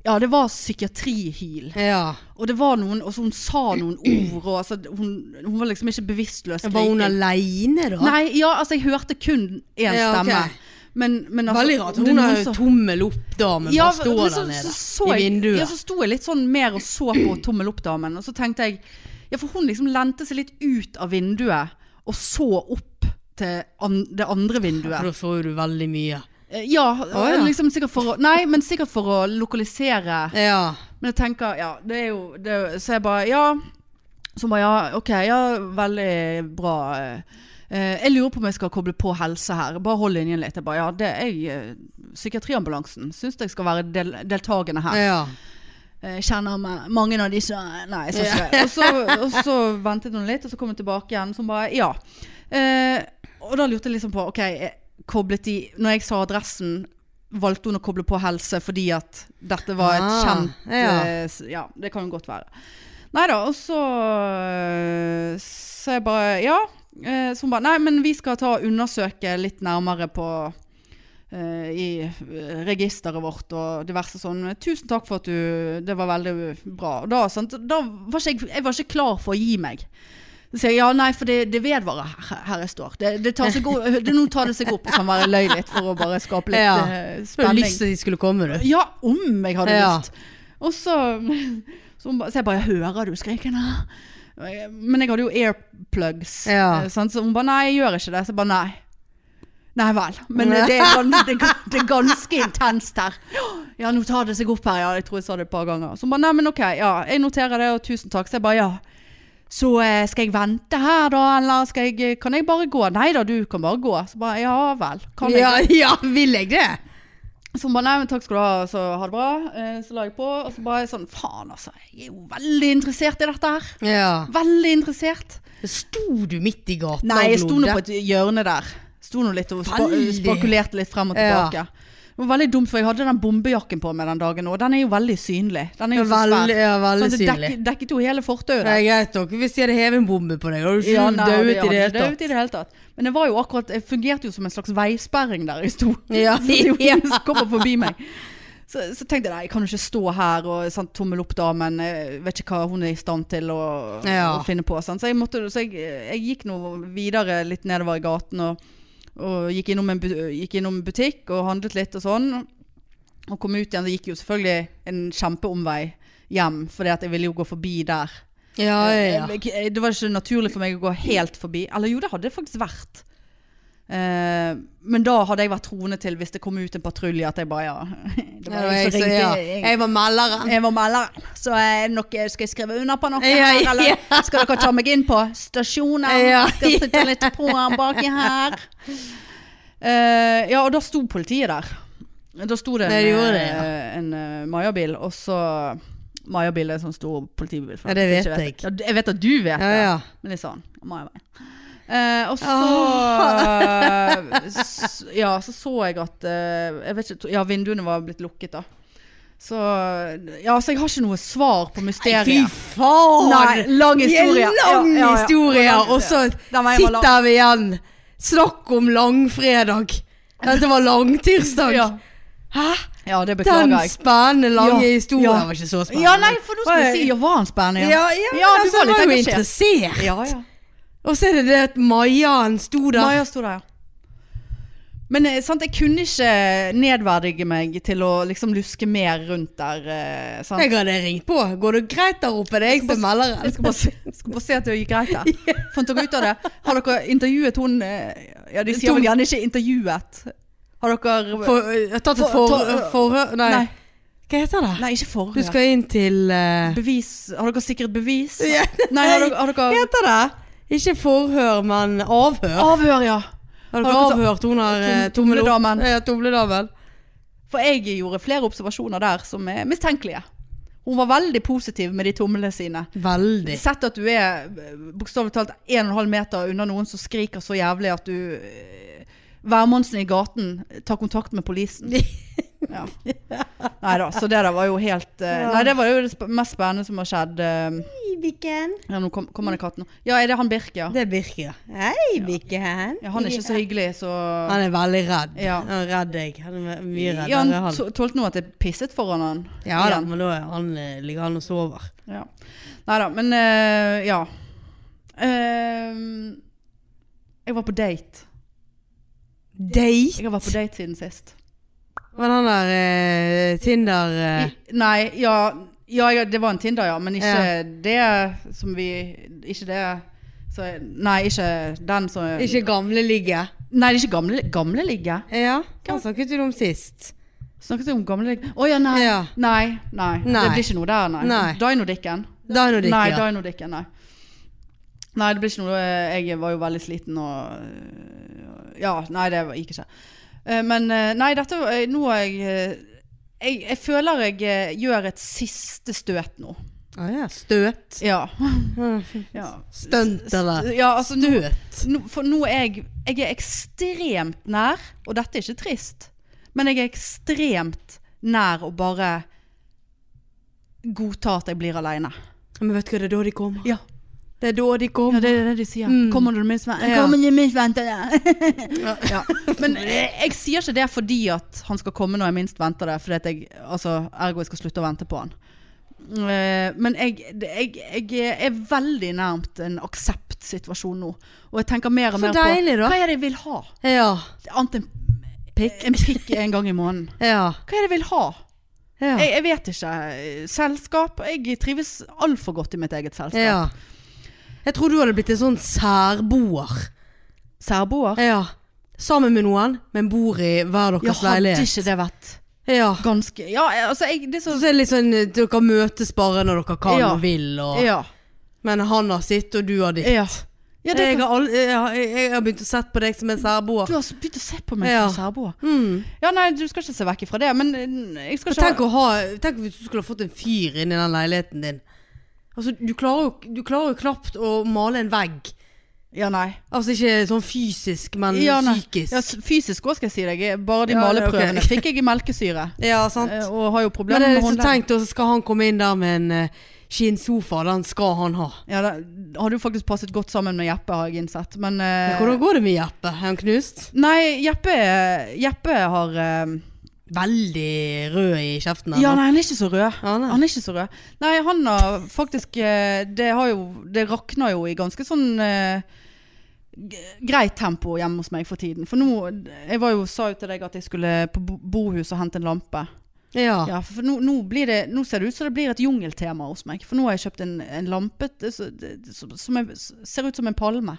Speaker 2: Ja, det var psykiatrihyl.
Speaker 1: ja.
Speaker 2: Og det var noen Og så hun sa noen ord, og altså Hun, hun var liksom ikke bevisstløs.
Speaker 1: Var hun
Speaker 2: skriking.
Speaker 1: aleine, da?
Speaker 2: Nei, ja, altså jeg hørte kun én
Speaker 1: Ja, ok.
Speaker 2: stemme. Men, men altså,
Speaker 1: Veldig rart.
Speaker 2: om det er
Speaker 1: Hun
Speaker 2: noen
Speaker 1: har jo
Speaker 2: som-
Speaker 1: tommel opp-damen
Speaker 2: ja,
Speaker 1: bare står
Speaker 2: men
Speaker 1: der
Speaker 2: så,
Speaker 1: nede.
Speaker 2: så, så
Speaker 1: I
Speaker 2: jeg,
Speaker 1: vinduet.
Speaker 2: Ja, så sto jeg litt sånn mer og så på tommel opp-damen, og så tenkte jeg Ja, for hun liksom lente seg litt ut av vinduet og så opp til an, det andre vinduet.
Speaker 1: For da så jo du veldig mye.
Speaker 2: Eh, Ja,
Speaker 1: ja.
Speaker 2: liksom sikkert for å Nei, men sikkert for å lokalisere
Speaker 1: Ja.
Speaker 2: men jeg tenker, ja, det er jo det er, jo- Så jeg bare, ja Så bare, ja, ok, ja, veldig bra eh, eh, Jeg lurer på om jeg skal koble på helse her Bare hold linjen litt Jeg bare, ja, det er jeg, eh, psykiatriambulansen Synes jeg skal være del, deltagende her
Speaker 1: ja.
Speaker 2: Eh, Kjenner meg, mange av de som Nei, jeg sa ikke det og så, og så ventet hun litt, og så kom hun tilbake igjen Som bare, ja eh, Og da lurte jeg liksom på, ok eh, Koblet de, når jeg sa adressen Valgte hun å koble på helse Fordi at dette var et
Speaker 1: Ah,
Speaker 2: kjent
Speaker 1: ja.
Speaker 2: Eh, s- Ja, det kan jo godt være. Nei da, og så eh, Så jeg bare Ja. eh, Så hun bare Nei, men vi skal ta og undersøke litt nærmere på eh, I eh, registeret vårt og diverse sånn. Tusen takk for at du Det var veldig bra. Og da, sant, da var ikke jeg, jeg var ikke klar for å gi meg. Så sier jeg ja, nei, for det, det vedvarer her, her jeg står. Det, det tar seg opp, det, nå tar det seg opp. Det kan være løy litt for å bare skape litt
Speaker 1: Ja.
Speaker 2: eh,
Speaker 1: Du hadde
Speaker 2: spenning.
Speaker 1: lyst til at de skulle komme, du.
Speaker 2: Ja, om jeg hadde
Speaker 1: Ja.
Speaker 2: lyst. Og så, så, hun ba- så jeg bare, jeg hører du skrikene? Men jeg hadde jo airplugs.
Speaker 1: Ja.
Speaker 2: eh, sant? Så hun bare, nei, jeg gjør ikke det. Så jeg bare, nei. Nei vel, men det er, gan- det, er gan- det er ganske intenst her. Ja, nå tar det seg opp her. Ja, jeg tror jeg sa det et par ganger. Så hun bare, nei, men ok, ja, jeg noterer det, og tusen takk. Så jeg bare, ja. Så eh, skal jeg vente her da, eller skal jeg, eh, kan jeg bare gå? Nei da, du kan bare gå. Så bare, ja vel, kan jeg
Speaker 1: Ja, ja, vil jeg det?
Speaker 2: så hun bare nei, men takk skal du ha, så ha det bra. Eh, Så la jeg på, og så bare sånn faen altså. Jeg er jo veldig interessert i dette her.
Speaker 1: Ja.
Speaker 2: Veldig interessert.
Speaker 1: Sto du midt i gata
Speaker 2: Nei, jeg sto
Speaker 1: og
Speaker 2: nå
Speaker 1: glodde?
Speaker 2: på et hjørne der. Sto nå litt og spa
Speaker 1: Veldig.
Speaker 2: spakulerte litt frem og
Speaker 1: Ja.
Speaker 2: tilbake. Det var veldig dumt, for jeg hadde den bombejakken på meg den dagen, og den er jo veldig synlig. Den er jo så svær.
Speaker 1: Veldig, ja, veldig
Speaker 2: Sånn, det
Speaker 1: synlig.
Speaker 2: dekket, dekket jo hele
Speaker 1: Det
Speaker 2: fortauet. der.
Speaker 1: er greit nok. Hvis de hadde hevet en bombe på deg, hadde du ikke
Speaker 2: Ja, nei,
Speaker 1: dødd
Speaker 2: jeg
Speaker 1: i det
Speaker 2: hadde
Speaker 1: hele tatt.
Speaker 2: dødd i det hele tatt. Men det var jo akkurat, jeg fungerte jo som en slags veisperring der jeg sto.
Speaker 1: Ja.
Speaker 2: Så det er jo ingen som kommer forbi meg. Så, så tenkte jeg nei, jeg kan jo ikke stå her og sant, tommel opp damen. Jeg vet ikke hva hun er i stand til å,
Speaker 1: Ja.
Speaker 2: å finne på. Sant? Så, jeg, måtte, så jeg, jeg gikk nå videre litt nedover i gaten og, og gikk, innom en, bu- gikk innom en butikk og handlet litt og sånn. Og kom ut igjen. Det gikk jo selvfølgelig en kjempeomvei hjem, for jeg ville jo gå forbi der.
Speaker 1: Ja, ja, ja.
Speaker 2: Jeg- Eh, Det var ikke naturlig for meg å gå helt forbi. Eller jo, det hadde det faktisk vært. Eh, men da hadde jeg vært troende til, hvis det kom ut en patrulje, at jeg bare ja. Det
Speaker 1: Ja, det var jeg som- ja.
Speaker 2: Jeg,
Speaker 1: Jeg var melderen.
Speaker 2: jeg var melderen. Så er det noe, skal jeg skrive under på noe
Speaker 1: Ja,
Speaker 2: her,
Speaker 1: ja.
Speaker 2: eller skal dere ta meg inn på stasjonen?
Speaker 1: Ja,
Speaker 2: Skal jeg sitte litt på baki her? Eh, ja, og da sto politiet der. Da sto det en,
Speaker 1: Det gjorde det, ja.
Speaker 2: eh, en eh, Mayabil, og så Mayabil er en sånn stor politibil. for
Speaker 1: Ja,
Speaker 2: dere
Speaker 1: det
Speaker 2: som
Speaker 1: vet
Speaker 2: ikke vet Ja, jeg vet at du vet
Speaker 1: Ja,
Speaker 2: det.
Speaker 1: ja.
Speaker 2: Men litt sånn Mayabil. Eh, og
Speaker 1: Ah.
Speaker 2: så s- Ja, så så jeg at eh, Jeg vet ikke to- Ja, vinduene var blitt lukket, da. Så Ja, så jeg har ikke noe svar på
Speaker 1: Fy
Speaker 2: mysteriet.
Speaker 1: faen!
Speaker 2: Nei, lang historie.
Speaker 1: Det er lang
Speaker 2: Ja, ja, ja.
Speaker 1: historie, og så
Speaker 2: Den var jævla lang.
Speaker 1: sitter vi igjen. Snakk om langfredag. Dette var langtirsdag.
Speaker 2: Ja.
Speaker 1: Hæ?
Speaker 2: ja, det
Speaker 1: Den
Speaker 2: beklager jeg.
Speaker 1: spennende lange
Speaker 2: Ja,
Speaker 1: historien
Speaker 2: ja.
Speaker 1: var ikke så spennende.
Speaker 2: Ja, nei, for nå skulle jeg si ja, var han
Speaker 1: ja,
Speaker 2: spennende?
Speaker 1: ja, men
Speaker 2: Ja, du
Speaker 1: altså,
Speaker 2: var
Speaker 1: jeg
Speaker 2: litt
Speaker 1: var jo
Speaker 2: engasjert.
Speaker 1: interessert.
Speaker 2: ja. ja.
Speaker 1: Og så er det det at Majaen sto der.
Speaker 2: Maja sto der, ja. Men eh, sant, jeg kunne ikke nedverdige meg til å liksom luske mer rundt der. eh, Sant?
Speaker 1: Jeg hadde ringt på. Går det greit der oppe? Det er jeg som melder.
Speaker 2: Jeg skal bare, se- skal bare se at det gikk greit der. Fant dere ut av det? Har dere intervjuet hun eh, Ja, de sier
Speaker 1: Tom-
Speaker 2: vel gjerne ikke 'intervjuet'. Har dere
Speaker 1: For, jeg har tatt et for,
Speaker 2: For- ta- øh,
Speaker 1: forhør nei.
Speaker 2: nei.
Speaker 1: hva heter det?
Speaker 2: Nei, ikke
Speaker 1: Du
Speaker 2: forhør.
Speaker 1: skal inn til eh,
Speaker 2: Bevis Har dere sikret bevis?
Speaker 1: Ja.
Speaker 2: Nei, har dere, har
Speaker 1: Hva
Speaker 2: dere
Speaker 1: heter det? Ikke forhør, men avhør.
Speaker 2: Avhør, ja.
Speaker 1: Har
Speaker 2: Har
Speaker 1: dere
Speaker 2: dere ta-
Speaker 1: avhørt hun her eh,
Speaker 2: Tom-
Speaker 1: tommel opp?
Speaker 2: tomledamen?
Speaker 1: Ja, tomledamen.
Speaker 2: For jeg gjorde flere observasjoner der som er mistenkelige. Hun var veldig positiv med de tomlene sine.
Speaker 1: Veldig.
Speaker 2: Sett at du er eh, bokstavelig talt 1,5 meter unna noen som skriker så jævlig at du eh, Værmannsen i gaten tar kontakt med politien. Ja. Nei da, så det der var jo helt eh, Nei, det var jo det sp mest spennende som har skjedd. eh,
Speaker 1: Bikken.
Speaker 2: Ja, nå kom- kommer det katt nå. Ja, er det han Birk, ja?
Speaker 1: Det er Birke. Hei, Bikken.
Speaker 2: ja? Han er ikke så hyggelig, så
Speaker 1: Han er veldig redd.
Speaker 2: Ja.
Speaker 1: Han er redd jeg. Han er mye reddere
Speaker 2: Ja, han
Speaker 1: enn han.
Speaker 2: tå- tålte nå at jeg pisset foran han.
Speaker 1: Ja da,
Speaker 2: igjen.
Speaker 1: men da er han, eh, ligger han og sover.
Speaker 2: Ja. Nei da, men eh, ja. Ehm, jeg var på date.
Speaker 1: Date?
Speaker 2: Jeg har vært på date siden sist.
Speaker 1: Men han der eh, Tinder eh,
Speaker 2: I, nei, ja, ja, ja Det var en Tinder, ja. Men ikke
Speaker 1: Ja.
Speaker 2: det som vi Ikke det så, Nei, ikke den som
Speaker 1: Ikke gamle ligge.
Speaker 2: Nei, det er ikke gamle, gamle ligge.
Speaker 1: Ja, han snakket jo om sist.
Speaker 2: Snakket vi om gamle ligge? Å ja, nei.
Speaker 1: Ja.
Speaker 2: nei. Nei.
Speaker 1: Nei.
Speaker 2: Det blir ikke noe der, nei.
Speaker 1: Nei.
Speaker 2: Dino-dicken.
Speaker 1: Dino-dick,
Speaker 2: Nei,
Speaker 1: ja.
Speaker 2: Dino-dicken, nei. Nei, det blir ikke noe Jeg var jo veldig sliten og øh, Ja, nei, det gikk ikke. Eh, Men eh, nei, dette eh, Nå har jeg eh, jeg, jeg føler jeg eh, gjør et siste støt nå.
Speaker 1: Ah, ja. Støt.
Speaker 2: Ja. ja.
Speaker 1: Stunt eller
Speaker 2: ja altså, nå,
Speaker 1: Støt.
Speaker 2: nå, for nå er jeg, jeg er ekstremt nær, og dette er ikke trist, men jeg er ekstremt nær å bare godta at jeg blir aleine.
Speaker 1: Men vet du hva, det er da de kommer.
Speaker 2: Ja.
Speaker 1: Det er da de kommer.
Speaker 2: Ja, det er det de sier.
Speaker 1: Mm.
Speaker 2: Kommer du minst vent-
Speaker 1: Ja.
Speaker 2: Kommer du minst venter det? ja. Men jeg, jeg sier ikke det fordi at han skal komme når jeg minst venter det, fordi at jeg, altså, ergo jeg skal slutte å vente på han. Eh, Men jeg, det- jeg, jeg er veldig nærmt en akseptsituasjon nå. Og jeg tenker mer og
Speaker 1: Så
Speaker 2: mer
Speaker 1: deilig,
Speaker 2: på
Speaker 1: da.
Speaker 2: hva er det jeg vil ha?
Speaker 1: Ja.
Speaker 2: Annet enn pikk. en pikk en gang i måneden.
Speaker 1: Ja.
Speaker 2: Hva er det jeg vil ha?
Speaker 1: Ja.
Speaker 2: Jeg, jeg vet ikke. Selskap. Jeg trives altfor godt i mitt eget selskap.
Speaker 1: ja. Jeg tror du hadde blitt en sånn særboer.
Speaker 2: Særboer.
Speaker 1: Ja. Sammen med noen, men bor i hver
Speaker 2: Ja,
Speaker 1: deres
Speaker 2: hadde
Speaker 1: leilighet.
Speaker 2: ikke det vært
Speaker 1: Ja.
Speaker 2: ganske Ja, altså, jeg, det er så
Speaker 1: Så er det litt sånn eh, dere møtes bare når dere kan
Speaker 2: Ja.
Speaker 1: og vil, og
Speaker 2: Ja.
Speaker 1: Men han har sitt, og du har ditt.
Speaker 2: ja. ja det,
Speaker 1: jeg, har all, jeg, har- jeg har begynt å sette på deg som en særboer.
Speaker 2: du har begynt å se på meg
Speaker 1: Ja.
Speaker 2: som særboer.
Speaker 1: Mm.
Speaker 2: Ja, nei, du skal ikke se vekk ifra det, men eh, jeg skal
Speaker 1: For
Speaker 2: ikke
Speaker 1: Tenk, å ha, tenk hvis du skulle ha fått en fyr inn i den leiligheten din. Altså, du klarer, jo, du klarer jo knapt å male en vegg.
Speaker 2: Ja, nei.
Speaker 1: Altså ikke sånn fysisk, men
Speaker 2: Ja, nei.
Speaker 1: psykisk.
Speaker 2: Ja, s- fysisk òg, skal jeg si deg. Jeg- Bare de
Speaker 1: Ja, det er ok.
Speaker 2: maleprøvene fikk jeg i melkesyre.
Speaker 1: Ja, sant.
Speaker 2: eh, Og har jo
Speaker 1: Men
Speaker 2: problemer
Speaker 1: det er
Speaker 2: med
Speaker 1: liksom
Speaker 2: håndleddet.
Speaker 1: tenkt, og så skal han komme inn der med en eh, skinnsofa. Den skal han ha.
Speaker 2: Ja, da har du faktisk passet godt sammen med Jeppe, har jeg innsett. Men eh,
Speaker 1: Men hvordan går det med Jeppe? Er han knust?
Speaker 2: Nei, Jeppe, Jeppe har eh,
Speaker 1: Veldig rød i kjeften.
Speaker 2: Ja,
Speaker 1: eller?
Speaker 2: nei, han er ikke så rød.
Speaker 1: Ja, nei.
Speaker 2: Han er ikke så rød. Nei, han har faktisk eh, Det, har jo, det rakner jo i ganske sånn eh, g- greit tempo hjemme hos meg for tiden. For nå Jeg var jo, sa jo til deg at jeg skulle på bo- bohus og hente en lampe.
Speaker 1: Ja.
Speaker 2: Ja, for nå, nå, blir det, nå ser det ut som det blir et jungeltema hos meg. For nå har jeg kjøpt en, en lampe t- så- det- det- som, som er, ser ut som en palme.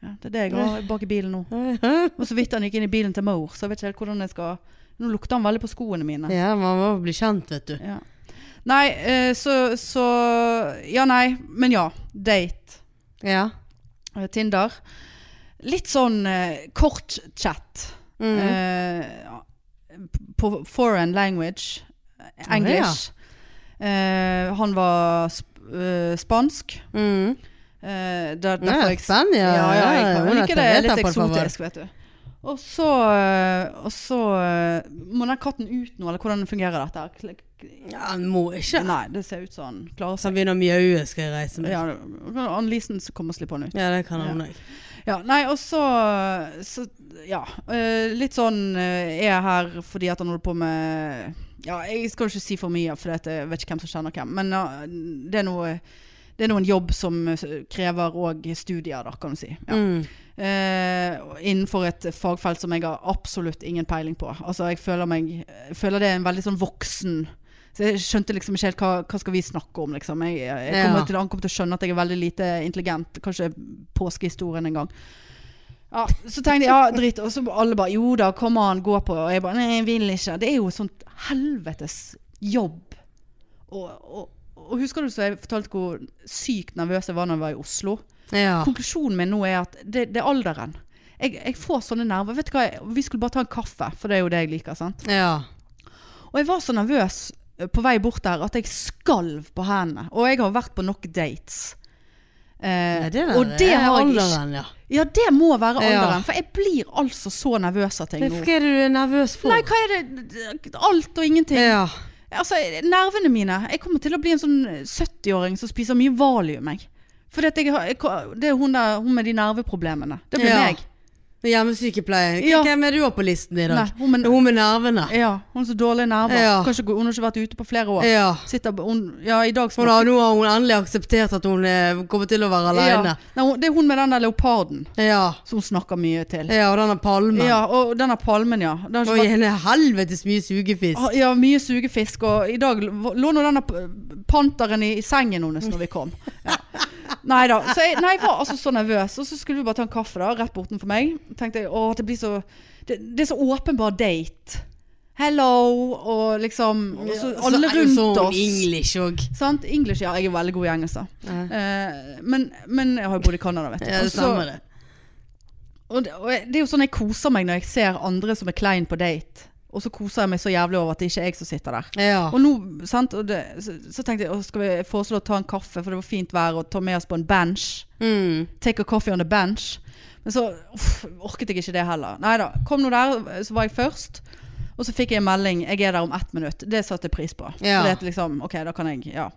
Speaker 2: Ja, det er det jeg har bak i bilen nå. Og så vidt han gikk inn i bilen til mor, så jeg vet ikke helt hvordan jeg skal Nå lukter han veldig på skoene mine.
Speaker 1: ja, man må bli kjent, vet du.
Speaker 2: Ja. Nei, eh, så, så Ja, nei, men ja. Date.
Speaker 1: Ja.
Speaker 2: eh, Tinder. Litt sånn eh, kort chat.
Speaker 1: Mm.
Speaker 2: Eh, på foreign language. English. Eh, han var sp eh, spansk.
Speaker 1: Mm.
Speaker 2: Eh, der,
Speaker 1: Ja,
Speaker 2: derfor jeg
Speaker 1: spennende.
Speaker 2: ja, ja, jeg, kan-
Speaker 1: hun
Speaker 2: jeg
Speaker 1: er
Speaker 2: liker det.
Speaker 1: etter
Speaker 2: Litt
Speaker 1: dette, por favor.
Speaker 2: eksotisk, vet du. Og så, eh, og så eh, Må den katten ut nå, eller hvordan fungerer dette? Klik-
Speaker 1: Ja, han må ikke.
Speaker 2: Nei, det ser ut som han klarer
Speaker 1: Så
Speaker 2: seg.
Speaker 1: han begynner å mjaue, skal jeg reise meg. Ja,
Speaker 2: Mm. Ja, Annelisen som kommer og slipper han ut.
Speaker 1: det kan han òg.
Speaker 2: Ja, nei, og så, så Ja. eh, litt sånn eh, er jeg her fordi at han holder på med Ja, jeg skal jo ikke si for mye, for jeg vet ikke hvem som kjenner hvem. Men ja, det er noe det er nå en jobb som eh, krever òg studier, da, kan du si. Ja.
Speaker 1: Mm.
Speaker 2: Eh, innenfor et fagfelt som jeg har absolutt ingen peiling på. Altså, jeg føler, meg, jeg føler det er en veldig sånn voksen Så jeg skjønte liksom ikke helt hva, hva skal vi snakke om, liksom. Jeg, jeg kommer
Speaker 1: Ja.
Speaker 2: til, han kommer til å skjønne at jeg er veldig lite intelligent. Kanskje påskehistorien en gang. Ja, så tenkte jeg ja, dritt. Og så alle bare jo da, kom an, gå på. Og jeg bare nei, jeg vil ikke. Det er jo sånt helvetes jobb. Og, og, og husker du så jeg fortalte hvor sykt nervøs jeg var når jeg var i Oslo?
Speaker 1: Ja.
Speaker 2: Konklusjonen min nå er at det, det er alderen. Jeg, jeg får sånne nerver. Vet du hva? Jeg- Vi skulle bare ta en kaffe, for det er jo det jeg liker. sant?
Speaker 1: ja.
Speaker 2: Og jeg var så nervøs eh, på vei bort der at jeg skalv på hendene. Og jeg har vært på nok dates. Eh,
Speaker 1: Nei, det der
Speaker 2: og det
Speaker 1: er
Speaker 2: har jeg ikke.
Speaker 1: alderen, ja.
Speaker 2: Ja, det må være
Speaker 1: Ja.
Speaker 2: alderen. For jeg blir altså så nervøs av ting nå.
Speaker 1: Hva er det du er nervøs for?
Speaker 2: Nei, hva er det? Alt og ingenting.
Speaker 1: ja.
Speaker 2: Altså, nervene mine Jeg kommer til å bli en sånn 70-åring som spiser mye valium, jeg. Fordi at jeg, har- jeg ko- det er hun, der, hun med de nerveproblemene. Det blir
Speaker 1: Ja.
Speaker 2: meg.
Speaker 1: Hjemmesykepleien.
Speaker 2: Ja.
Speaker 1: Hvem er du på listen i dag?
Speaker 2: Nei, hun med,
Speaker 1: Hun med nervene.
Speaker 2: ja, hun som har dårlige nerver.
Speaker 1: Ja.
Speaker 2: Kanskje gå- hun har ikke vært ute på flere år.
Speaker 1: Ja.
Speaker 2: Sitter, b- hun, ja, i dag skal
Speaker 1: Hun har, nå har hun endelig akseptert at hun eh, kommer til å være alene.
Speaker 2: Ja. Nei, hun, det er hun med den der leoparden
Speaker 1: Ja.
Speaker 2: som hun snakker mye til.
Speaker 1: ja. og denne palmen.
Speaker 2: Ja, og denne palmen, ja. Den har ikke
Speaker 1: Og en helvetes mye sugefisk.
Speaker 2: Ah, Ja, mye sugefisk. Og i dag l- lå nå denne p- panteren i, i sengen hennes når vi kom. Ja. Nei da. Så jeg, nei, jeg var altså så nervøs. Og så skulle vi bare ta en kaffe da, rett bortenfor meg. Tenkte jeg, åh, det blir så Det, det er så åpenbar date. Hello, og liksom og så Alle
Speaker 1: er det
Speaker 2: rundt
Speaker 1: sånn
Speaker 2: oss.
Speaker 1: English òg.
Speaker 2: Sant? English, ja. Jeg er veldig god i engelsk. da. Eh, men, men jeg har jo bodd i Canada, vet du.
Speaker 1: Ja,
Speaker 2: Og
Speaker 1: det
Speaker 2: så-
Speaker 1: stemmer det.
Speaker 2: og det, og jeg- det er jo sånn jeg koser meg når jeg ser andre som er klein på date. Og så koser jeg meg så jævlig over at det ikke er jeg som sitter der.
Speaker 1: Ja.
Speaker 2: Og nå, sant, og det, så, så tenkte jeg, «Å, skal vi foreslå å ta en kaffe, for det var fint vær, og ta med oss på en bench.
Speaker 1: Mm.
Speaker 2: Take a coffee on the bench. Men så uff, orket jeg ikke det heller. Neida, kom nå der, så var jeg først. Og så fikk jeg en melding, jeg er der om ett minutt. Det satte jeg pris på.
Speaker 1: Ja.
Speaker 2: For det at liksom, ok, da kan jeg, ja.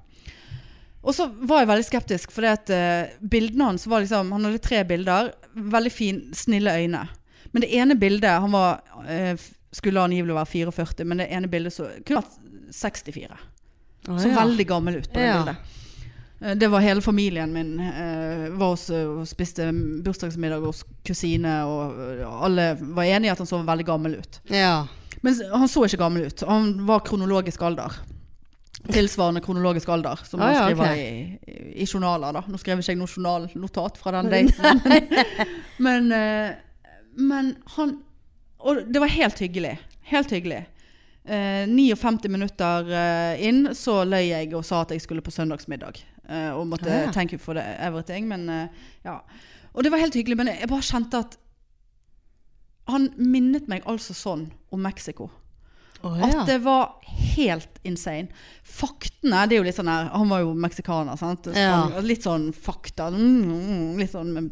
Speaker 2: Og så var jeg veldig skeptisk, for det at eh, bildene hans var liksom, han hadde tre bilder, veldig fin, snille øyne. Men det ene bildet, han var, eh, f- skulle angivelig være 44, men det ene bildet så, kunne vært 64.
Speaker 1: Å,
Speaker 2: Så
Speaker 1: ja.
Speaker 2: veldig gammel ut på det
Speaker 1: Ja.
Speaker 2: bildet. Eh, Det var hele familien min. eh, var hos, og spiste bursdagsmiddag hos kusine, og eh, alle var enige i at han så veldig gammel ut.
Speaker 1: Ja.
Speaker 2: Men s- han så ikke gammel ut. Han var kronologisk alder. Tilsvarende kronologisk alder, som
Speaker 1: Ah,
Speaker 2: man
Speaker 1: ja,
Speaker 2: skriver
Speaker 1: ok.
Speaker 2: i, i, i journaler. Da. Nå skrev ikke jeg noe journalnotat fra den daten. men, eh, men han Og det var helt hyggelig. Helt hyggelig. Eh, 59 minutter eh, inn så løy jeg og sa at jeg skulle på søndagsmiddag. Eh, og måtte
Speaker 1: Ah, ja.
Speaker 2: thank you for the everything, men eh, ja. Og det var helt hyggelig, men jeg bare kjente at han minnet meg altså sånn om Mexico.
Speaker 1: Å,
Speaker 2: At det var helt insane. Faktene det er jo litt sånn her Han var jo meksikaner, sant?
Speaker 1: Ja.
Speaker 2: Span- Litt sånn fakta. Mm, mm, litt sånn men-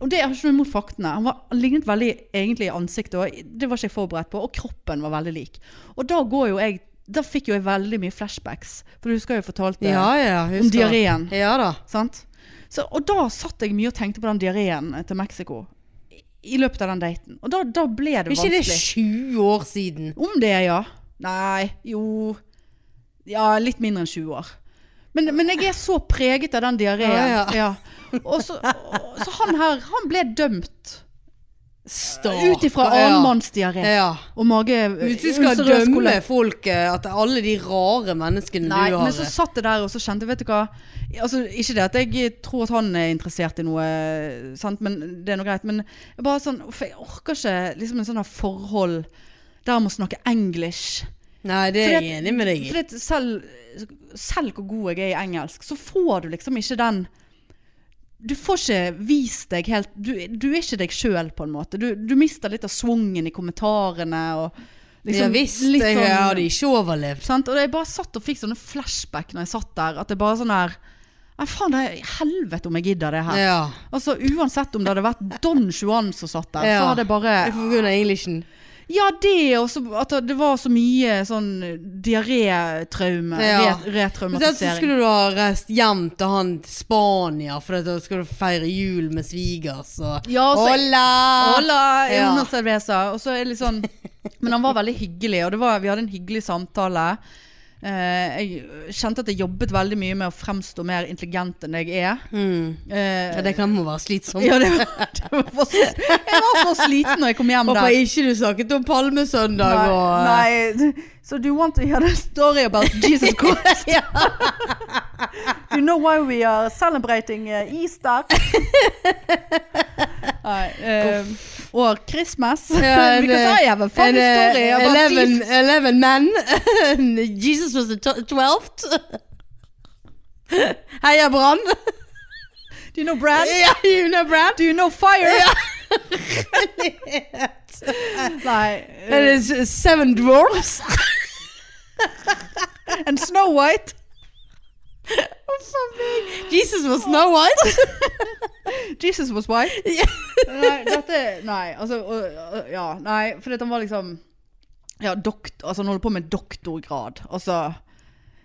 Speaker 2: Og det jeg har ikke noe imot faktene. Han, var, han lignet veldig egentlig i ansiktet, og det var ikke jeg forberedt på. Og kroppen var veldig lik. Og da går jo jeg Da fikk jo jeg veldig mye flashbacks. For du husker jeg fortalte
Speaker 1: ja, ja.
Speaker 2: om diareen.
Speaker 1: Ja da.
Speaker 2: Sant? Så, og da satt jeg mye og tenkte på den diareen til Mexico. I, I løpet av den daten. Og da, da ble det
Speaker 1: Er ikke det
Speaker 2: vanskelig.
Speaker 1: 20 år siden?
Speaker 2: Om det, ja. Nei, jo Ja, litt mindre enn 20 år. Men, men jeg er så preget av den diareen.
Speaker 1: Ja, ja.
Speaker 2: Og så, og- så han her, han ble dømt.
Speaker 1: Stakkar.
Speaker 2: Ut ifra
Speaker 1: Ja.
Speaker 2: annenmannsdiaré
Speaker 1: Ja.
Speaker 2: og mage...
Speaker 1: Hvis du skal
Speaker 2: ulcerøs
Speaker 1: dømme
Speaker 2: kolon-
Speaker 1: folk eh, at alle de rare menneskene
Speaker 2: Nei,
Speaker 1: du har eh,
Speaker 2: men så satt jeg der og så kjente Vet du hva? Altså, ikke det at jeg tror at han er interessert i noe, sant? men det er noe greit. Men jeg bare sånn For jeg orker ikke liksom en sånn her forhold der man må snakke english.
Speaker 1: Nei, det er
Speaker 2: Fordi
Speaker 1: jeg
Speaker 2: at-
Speaker 1: enig med deg i.
Speaker 2: Fordi at selv, selv hvor god jeg er i engelsk, så får du liksom ikke den Du får ikke vist deg helt Du, du er ikke deg sjøl, på en måte. Du, du mister litt av swungen i kommentarene og liksom
Speaker 1: ja visst,
Speaker 2: litt
Speaker 1: jeg
Speaker 2: sånn-
Speaker 1: hadde ikke overlevd.
Speaker 2: Sant? Og jeg bare satt og fikk sånne flashback når jeg satt der. At det bare sånn her Nei, faen, det er helvete om jeg gidder det her.
Speaker 1: Ja.
Speaker 2: Altså, Uansett om det hadde vært Don Juan som satt der,
Speaker 1: Ja.
Speaker 2: så hadde jeg bare
Speaker 1: Jeg forgrunner englishen.
Speaker 2: Ja, det, og så at det var så mye sånn diarétraume.
Speaker 1: Ja.
Speaker 2: re- Retraumatisering.
Speaker 1: Så skulle du ha reist hjem til han til Spania, for da skulle du feire jul med svigers og
Speaker 2: Ja, og så-
Speaker 1: altså- Hola!
Speaker 2: Hola,
Speaker 1: Ja.
Speaker 2: Jonas Cerveza. Og så er det litt sånn Men han var veldig hyggelig, og det var, vi hadde en hyggelig samtale. Eh, jeg kjente at jeg jobbet veldig mye med å fremstå mer intelligent enn jeg er.
Speaker 1: Mm.
Speaker 2: Eh,
Speaker 1: Ja, det kan jo være slitsomt.
Speaker 2: ja, det var, det var for, jeg var så sliten når jeg kom hjem
Speaker 1: Hvorfor
Speaker 2: der.
Speaker 1: ikke du snakket om Palmesøndag og
Speaker 2: Nei, nei. So do you want to hear the story about Jesus Christ? do you know why we are celebrating uh, Easter? Nei, eh, or Christmas?
Speaker 1: Ja,
Speaker 2: Because
Speaker 1: det-
Speaker 2: I have a funny
Speaker 1: eh,
Speaker 2: story about
Speaker 1: 11,
Speaker 2: Jesus.
Speaker 1: 11 menn. Jesus was the tw- twelfth. Heia Brann!
Speaker 2: Do you know Brad?
Speaker 1: Ja, you know Brann.
Speaker 2: Do you know fire? Nei.
Speaker 1: And
Speaker 2: eh,
Speaker 1: it's uh, seven dwarfs.
Speaker 2: and Snow White?
Speaker 1: Jesus was Snow White.
Speaker 2: Jesus was white? nei, dette Nei, altså øh, øh, Ja, nei, fordi at han var liksom Ja, dokt, altså han holder på med doktorgrad. Altså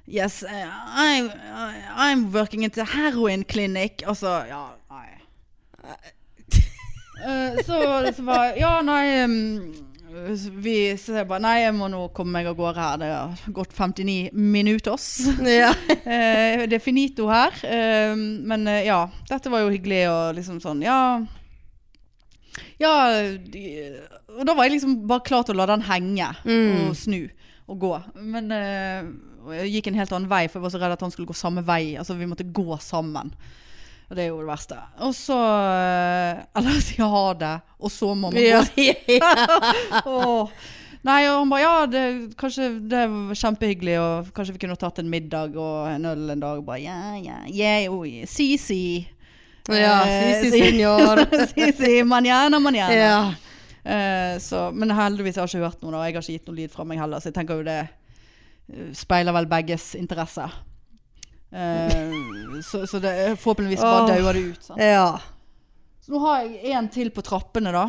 Speaker 2: Yes, eh, I, I- I'm working at a heroin clinic. Altså, ja, nei. Eh, så, så var Ja, nei um, Vi ser bare Nei, jeg må nå komme meg av gårde her. Det har gått 59 minutter.
Speaker 1: ja.
Speaker 2: Eh, det er finito her. eh, men eh, ja, dette var jo hyggelig og liksom sånn, ja Ja de, Og da var jeg liksom bare klar til å la den henge og snu og gå. Men eh, og jeg gikk en helt annen vei, for jeg var så redd at han skulle gå samme vei. Altså vi måtte gå sammen. Og det er jo det verste. Og så eh, Eller si ha det, og så må man gå
Speaker 1: ja.
Speaker 2: Åh. Nei, og han bare ja, det, kanskje det var kjempehyggelig, og kanskje vi kunne tatt en middag og en øl en dag. Bare ja, ja, yeah, oh, yeah. Si, si.
Speaker 1: Ja,
Speaker 2: Eh,
Speaker 1: si, si, senor.
Speaker 2: si, si, manjana, manjana.
Speaker 1: ja.
Speaker 2: Eh, så, men heldigvis har jeg ikke hørt noe, da, og jeg har ikke gitt noe lyd fra meg heller, så jeg tenker jo det eh, speiler vel begges interesser. Eh, så, så det forhåpentligvis
Speaker 1: Åh.
Speaker 2: bare dauer det ut. Sant?
Speaker 1: ja.
Speaker 2: Så nå har jeg en til på trappene, da.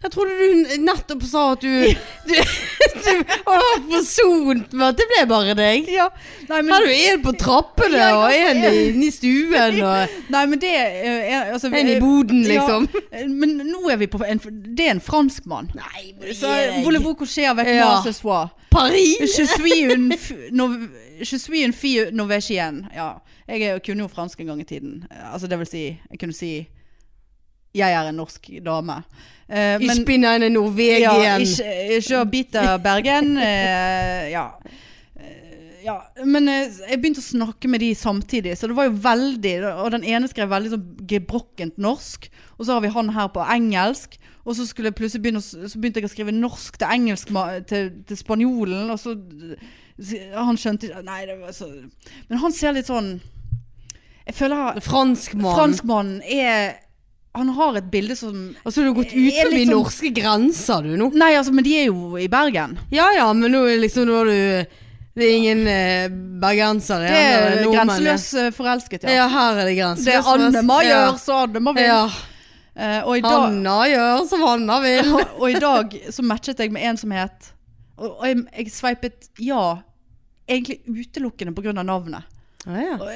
Speaker 1: Jeg trodde du nettopp sa at du, du, du var forsont med at det ble bare deg.
Speaker 2: Nei, men-
Speaker 1: Her er du en på trappene
Speaker 2: Ja,
Speaker 1: og
Speaker 2: jeg-
Speaker 1: en i, inn i stuen og
Speaker 2: Nei, men det eh, er altså,
Speaker 1: en i boden, liksom.
Speaker 2: Ja, eh, men nå er vi på en, Det er en franskmann.
Speaker 1: Nei,
Speaker 2: Så eh, voulez-vous coucher avec
Speaker 1: Ja.
Speaker 2: moi ce soir?
Speaker 1: Paris!
Speaker 2: Je suis une f- nov- je suis une fille norvégienne. Ja. Jeg er- kunne jo fransk en gang i tiden. Eh, Altså, det vil si Jeg kunne si Jeg er en norsk dame. Eh,
Speaker 1: I spinnen er
Speaker 2: ja,
Speaker 1: Norvegien.
Speaker 2: ikke, ikke å bite Bergen. eh, ja. Eh, ja. Men eh, jeg begynte å snakke med de samtidig, så det var jo veldig Og den ene skrev veldig sånn gebrokkent norsk, og så har vi han her på engelsk. Og så, skulle jeg plutselig begynne, å s- så begynte jeg å skrive norsk til engelsk ma- til, til spanjolen, og så s- Han skjønte ikke Nei, det var så Men han ser litt sånn Jeg føler
Speaker 1: Franskmann.
Speaker 2: franskmannen er Han har et bilde som
Speaker 1: Altså, du har gått ut
Speaker 2: Er litt
Speaker 1: forbi
Speaker 2: sånn-
Speaker 1: norske grenser, du, nå.
Speaker 2: Nei, altså, men de er jo i Bergen.
Speaker 1: Ja ja, men nå er liksom nå er du Det er ingen eh, bergensere.
Speaker 2: Det
Speaker 1: eller
Speaker 2: er
Speaker 1: nordmenn, ja.
Speaker 2: grenseløs eh, forelsket, ja.
Speaker 1: Ja, her er det grenseløs.
Speaker 2: Det Annema gjør, så Annema vil.
Speaker 1: Ja.
Speaker 2: Eh, og, i dag,
Speaker 1: Hanna gjør som Hanna vil.
Speaker 2: og i dag så matchet jeg med en som het Og, og jeg, jeg sveipet ja, egentlig utelukkende pga. navnet. Og,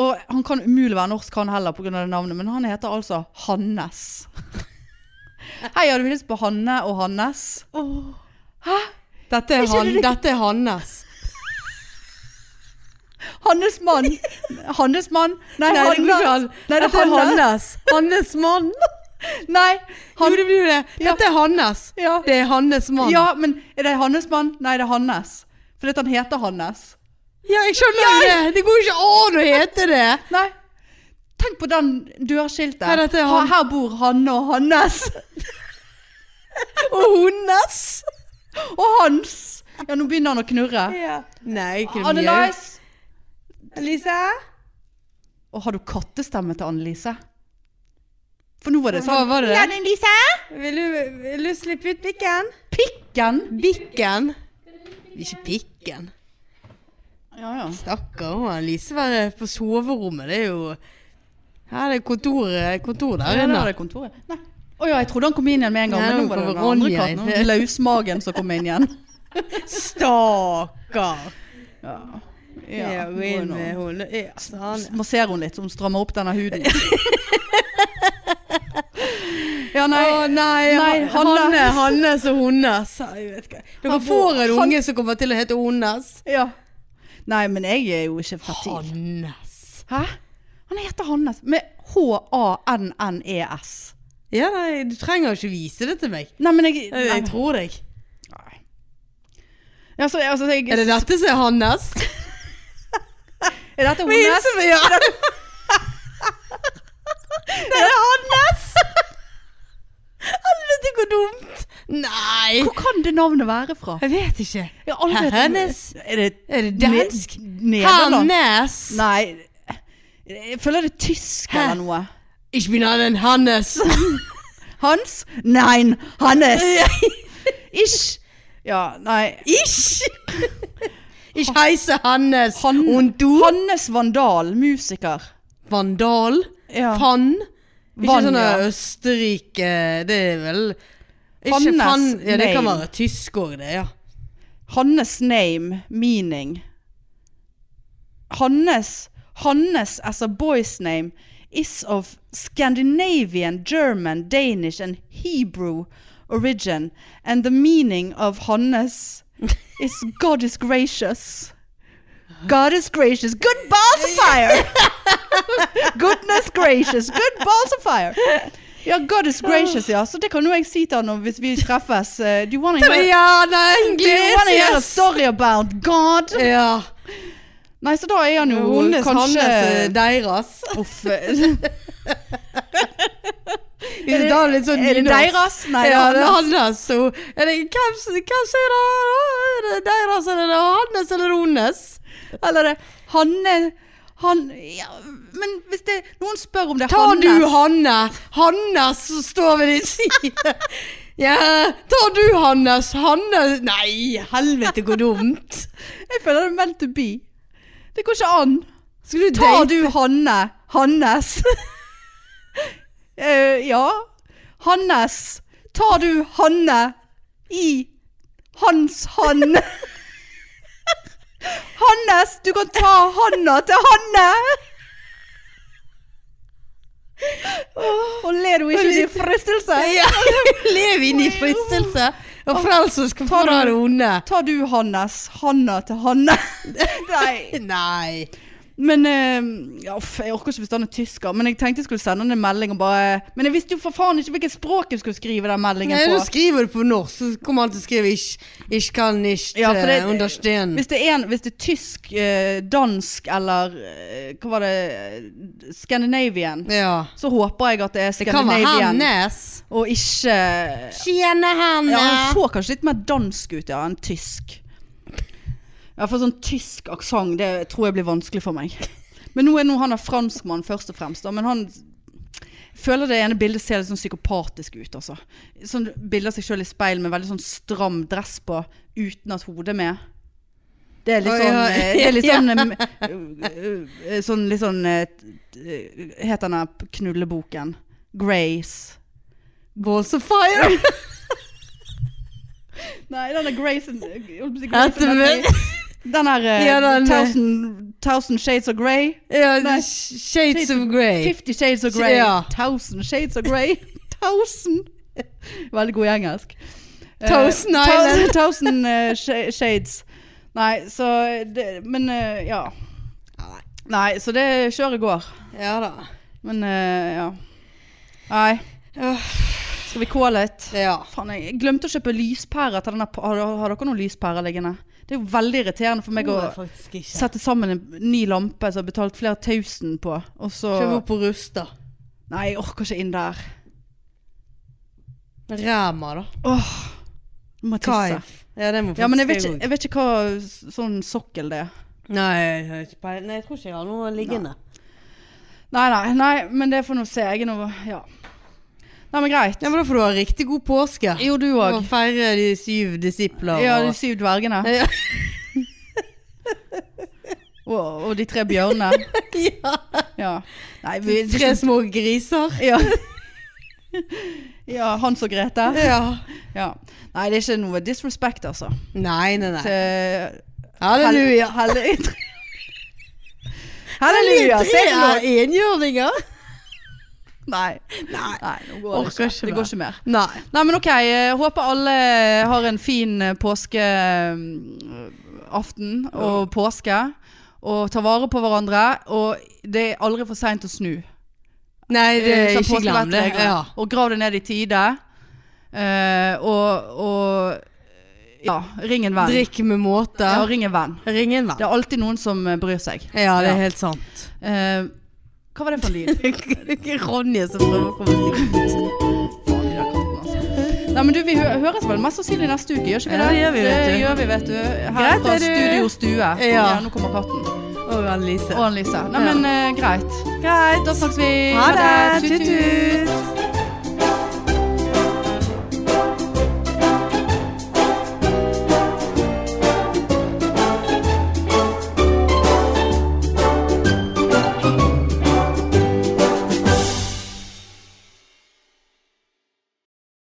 Speaker 2: og han kan umulig være norsk, han heller, pga. det navnet, men han heter altså Hannes. Hei, har du hilst på Hanne og Hannes?
Speaker 1: Dette, er
Speaker 2: Ikke
Speaker 1: han,
Speaker 2: det-
Speaker 1: dette er Hannes.
Speaker 2: Hannes mann! Hannes mann! Nei,
Speaker 1: Nei, det går ikke an.
Speaker 2: Hannes. Nei, det
Speaker 1: Dette er
Speaker 2: er Hanne.
Speaker 1: Hannes. Hannes mann.
Speaker 2: Nei,
Speaker 1: jo, det blir jo det. Dette er Hannes.
Speaker 2: ja.
Speaker 1: Det er Hannes mann.
Speaker 2: Ja, men er det Hannes mann? Nei, det er Hannes. Fordi at han heter Hannes.
Speaker 1: Ja, jeg skjønner jo det. Det går jo ikke an å hete det.
Speaker 2: Nei. Tenk på den dørskiltet.
Speaker 1: Ja, dette er
Speaker 2: Ha-
Speaker 1: han.
Speaker 2: Her bor Hanne og Hannes.
Speaker 1: Og Honnes.
Speaker 2: Og Hans. Ja, nå begynner han å knurre.
Speaker 1: Nei, ikke det mye.
Speaker 2: Annelise.
Speaker 1: Lise?
Speaker 2: Og har du kattestemme til Annelise? For nå var det
Speaker 1: Hva
Speaker 2: sånn.
Speaker 1: var det?
Speaker 2: Annelise.
Speaker 1: Vil du, vil du slippe ut pikken?
Speaker 2: Pikken.
Speaker 1: Bikken? Ikke pikken.
Speaker 2: Ja, ja.
Speaker 1: Stakkar må Lise være på soverommet. Det er jo Her er det kontor, kontor der
Speaker 2: Ja, det
Speaker 1: inne.
Speaker 2: var det kontoret. Nei. Å ja, jeg trodde han kom inn igjen med en gang,
Speaker 1: Nei,
Speaker 2: men
Speaker 1: det
Speaker 2: nå var det
Speaker 1: var
Speaker 2: den andre
Speaker 1: Ronja
Speaker 2: katten.
Speaker 1: inn.
Speaker 2: den Lausmagen som kom inn igjen.
Speaker 1: Stakkar!
Speaker 2: Ja.
Speaker 1: Ja,
Speaker 2: Ja,
Speaker 1: gå inn med
Speaker 2: nå-
Speaker 1: henne. Ja, eh, altså, han-
Speaker 2: Masserer hun litt, så hun strammer opp denne huden. Ja, nei.
Speaker 1: Å, nei,
Speaker 2: nei,
Speaker 1: han-
Speaker 2: Hanne.
Speaker 1: Hanne, Hannes og Honnes. altså. Jeg vet ikke. Dere
Speaker 2: Han-
Speaker 1: får en
Speaker 2: han-
Speaker 1: unge som kommer til å hete Honnes.
Speaker 2: Ja. Nei, men jeg er jo ikke fertil.
Speaker 1: Hannes.
Speaker 2: Hæ? Han heter Hannes. Med E H-A-N-N-E-S.
Speaker 1: Ja, nei, du trenger jo ikke vise det til meg.
Speaker 2: Nei, men jeg,
Speaker 1: Jeg, jeg tror deg.
Speaker 2: Nei. Ja, så, altså, jeg,
Speaker 1: Er det dette som er Hannes?
Speaker 2: Er dette
Speaker 1: Vi
Speaker 2: Honnes?
Speaker 1: hilser med ja. Det er Hannes! Helvete, hvor dumt. Nei.
Speaker 2: Hvor kan det navnet være fra?
Speaker 1: Jeg vet ikke.
Speaker 2: Jeg har aldri hørt om-
Speaker 1: Hennes.
Speaker 2: Er det,
Speaker 1: Er det dansk?
Speaker 2: Ne- Nederland?
Speaker 1: Hannes.
Speaker 2: Nei, jeg føler det er tysk
Speaker 1: Hæ?
Speaker 2: eller noe.
Speaker 1: Ikke min annen Hannes.
Speaker 2: Hans? Nein, Hannes. Ish. Ja, nei.
Speaker 1: Ish! Ich heiße Hannes.
Speaker 2: Han-
Speaker 1: Und du?
Speaker 2: Hannes Vandal, musiker.
Speaker 1: Vandal?
Speaker 2: Ja.
Speaker 1: Fann? Ikke
Speaker 2: Vann,
Speaker 1: sånn
Speaker 2: ja.
Speaker 1: Østerrike Det er vel ikke
Speaker 2: Hannes
Speaker 1: Fann Ja, det kan
Speaker 2: name.
Speaker 1: være tysk òg, det. ja
Speaker 2: Hannes name, meaning. Hannes, Hannes as a boy's name is of Scandinavian, German, Danish and Hebrew origin. And the meaning of Hannes is God is gracious. God is gracious. Good balls of fire. Goodness gracious. Good balls of fire. Ja, God is gracious, ja. Så det kan jo jeg si til han om hvis vi treffes. Eh, Do you wanna hear-
Speaker 1: Ja, det er
Speaker 2: Do you wanna hear a
Speaker 1: engelsk!
Speaker 2: story about God?
Speaker 1: Ja.
Speaker 2: Nei, så da er han jo
Speaker 1: Honnes,
Speaker 2: kanskje
Speaker 1: Hannes, eh, deres.
Speaker 2: Uff. Er
Speaker 1: Er det, da litt sånn
Speaker 2: det
Speaker 1: nynorsk?
Speaker 2: deres? Nei,
Speaker 1: ja, det er
Speaker 2: Hannes.
Speaker 1: Hannes. Så, er det, hvem, hvem sier det? Er det deres, eller er det Hannes, eller er det Honnes?
Speaker 2: Eller det Hanne Han ja, Men hvis det noen spør om det er
Speaker 1: Ta
Speaker 2: Hannes
Speaker 1: du Hanne. Hannes så står ved din side. Ja, ta du Hannes. Hannes Nei, helvete hvor dumt.
Speaker 2: Jeg føler det er meant to be. Det går ikke an.
Speaker 1: Skal du
Speaker 2: Ta
Speaker 1: date
Speaker 2: du Hanne Hannes. Eh, ja. Hannes. Ta du Hanne i hans hand. Hannes, du kan ta handa til Hanne. Og ler du ikke til fristelse?
Speaker 1: Ja, lev inn i fristelse. Og frels oss fra det onde.
Speaker 2: Ta du Hannes, handa til Hanne. Nei.
Speaker 1: Nei.
Speaker 2: Men eh, ja, uff, Jeg orker ikke hvis han er tysker, men jeg tenkte jeg skulle sende han en melding og bare Men jeg visste jo for faen ikke hvilket språk jeg skulle skrive den meldingen
Speaker 1: Nei,
Speaker 2: på.
Speaker 1: du skriver det på norsk, så kommer han til å skrive 'ich, ich kan nicht
Speaker 2: Ja, for det-
Speaker 1: eh, understand'.
Speaker 2: Hvis det er, en, hvis det er tysk, eh, dansk eller eh, Hva var det eh, Scandinavian.
Speaker 1: Ja.
Speaker 2: Så håper jeg at det er
Speaker 1: Det kan være
Speaker 2: Scandinavian
Speaker 1: Hannes.
Speaker 2: og ikke
Speaker 1: Tjene
Speaker 2: Ja,
Speaker 1: henne.
Speaker 2: Han så kanskje litt mer dansk ut ja, enn tysk. Ja, for sånn tysk aksent, det tror jeg blir vanskelig for meg. Men nå er nå han er franskmann først og fremst, da, men han føler det ene bildet ser litt sånn psykopatisk ut, altså. Sånn bilder av seg sjøl i speil med veldig sånn stram dress på, uten at hodet er med. Det er litt
Speaker 1: Oi,
Speaker 2: sånn,
Speaker 1: oi.
Speaker 2: eh, det er litt sånn, eh, eh, sånn Litt sånn eh, t- eh, Heter den her knulleboken? Grace.
Speaker 1: Balls of fire.
Speaker 2: Nei, den er Grace and jeg holdt på å si Grace
Speaker 1: Dette
Speaker 2: and
Speaker 1: med-
Speaker 2: Anthony. Den er eh,
Speaker 1: Ja, den, eh,
Speaker 2: thousand, thousand Shades of Grey.
Speaker 1: ja,
Speaker 2: Nei.
Speaker 1: sh- Shades of Grey.
Speaker 2: Fifty Shades of Grey.
Speaker 1: Ja.
Speaker 2: Thousand Shades of Grey. Thousand. Veldig god i engelsk. Eh,
Speaker 1: Thousand Island.
Speaker 2: Thousand, thousand eh, sha- Shades. Nei, så det, Men eh, ja. Nei, så det kjøret går.
Speaker 1: Ja da.
Speaker 2: Men eh, ja. Nei.
Speaker 1: Øh,
Speaker 2: Skal vi kåle litt?
Speaker 1: Ja.
Speaker 2: Faen, jeg glemte å kjøpe lyspærer til denne. pa- Har, har dere noen lyspærer liggende? Det er jo veldig irriterende for meg å
Speaker 1: Tror jeg faktisk ikke.
Speaker 2: sette sammen en ny lampe som jeg har betalt flere tusen på, og så
Speaker 1: Kjøp opp på Rusta.
Speaker 2: Nei, jeg orker ikke inn der.
Speaker 1: Ræma, da.
Speaker 2: Åh, nå må jeg tisse.
Speaker 1: Kaif. Ja, det må
Speaker 2: Ja, men jeg vet,
Speaker 1: faktisk
Speaker 2: ikke, jeg vet ikke hva s- sånn sokkel det er.
Speaker 1: også. Nei, jeg har ikke peil- Nei, jeg tror ikke jeg har noe liggende.
Speaker 2: Nei, nei, nei, men det får nå se. Jeg er nå Ja. Nei, men greit.
Speaker 1: Ja, men Da får du ha riktig god påske.
Speaker 2: Jo, du
Speaker 1: Og
Speaker 2: òg.
Speaker 1: feire de syv disipler.
Speaker 2: Ja, de
Speaker 1: og-
Speaker 2: syv dvergene.
Speaker 1: Ja.
Speaker 2: Og, og de tre bjørnene.
Speaker 1: ja.
Speaker 2: Ja. Nei, vi
Speaker 1: Tre små griser.
Speaker 2: ja. ja. Hans og Grete.
Speaker 1: Ja.
Speaker 2: Ja. Nei, det er ikke noe disrespect, altså.
Speaker 1: Nei, nei, nei.
Speaker 2: Til
Speaker 1: Halleluja.
Speaker 2: Hel- hel- Halleluja!
Speaker 1: Tre
Speaker 2: Ser du noe?
Speaker 1: er enhjørninger.
Speaker 2: Nei.
Speaker 1: Nei.
Speaker 2: Nei, nå går det
Speaker 1: Orker
Speaker 2: ikke.
Speaker 1: ikke
Speaker 2: Det
Speaker 1: mer.
Speaker 2: går ikke mer.
Speaker 1: Nei.
Speaker 2: Nei, men ok. eh, Håper alle har en fin eh, påskeaften og påske. Og tar vare på hverandre. Og det er aldri for seint å snu.
Speaker 1: Nei, det
Speaker 2: Eh,
Speaker 1: er
Speaker 2: sånn
Speaker 1: ikke glem det.
Speaker 2: påskevettregler.
Speaker 1: Ja.
Speaker 2: Og grav det ned i tide. Eh, og, og ja, ring en venn.
Speaker 1: Drikk med måte.
Speaker 2: Ja, ring en venn.
Speaker 1: Ring en
Speaker 2: Det
Speaker 1: venn.
Speaker 2: er alltid noen som eh, bryr seg.
Speaker 1: Ja, det
Speaker 2: Ja.
Speaker 1: er helt sant.
Speaker 2: Eh, hva var det for en lyd?
Speaker 1: Ronje som prøver å komme seg ut.
Speaker 2: Faen, de der kattene, altså. Nei, men du, Vi hø høres vel mest sannsynlig neste uke, gjør ikke vi
Speaker 1: Ja, det gjør vi,
Speaker 2: det?
Speaker 1: vet
Speaker 2: det
Speaker 1: du.
Speaker 2: gjør vi, vet du. Her
Speaker 1: Greit,
Speaker 2: fra
Speaker 1: er du-
Speaker 2: Studio Stue. Ja.
Speaker 1: Ja,
Speaker 2: nå kommer katten.
Speaker 1: Og Annelise.
Speaker 2: Og Annelise. Nei,
Speaker 1: Ja.
Speaker 2: men eh, greit.
Speaker 1: Greit.
Speaker 2: Da snakkes vi.
Speaker 1: Ha det.
Speaker 2: Tut-tut.
Speaker 1: Tut-tut.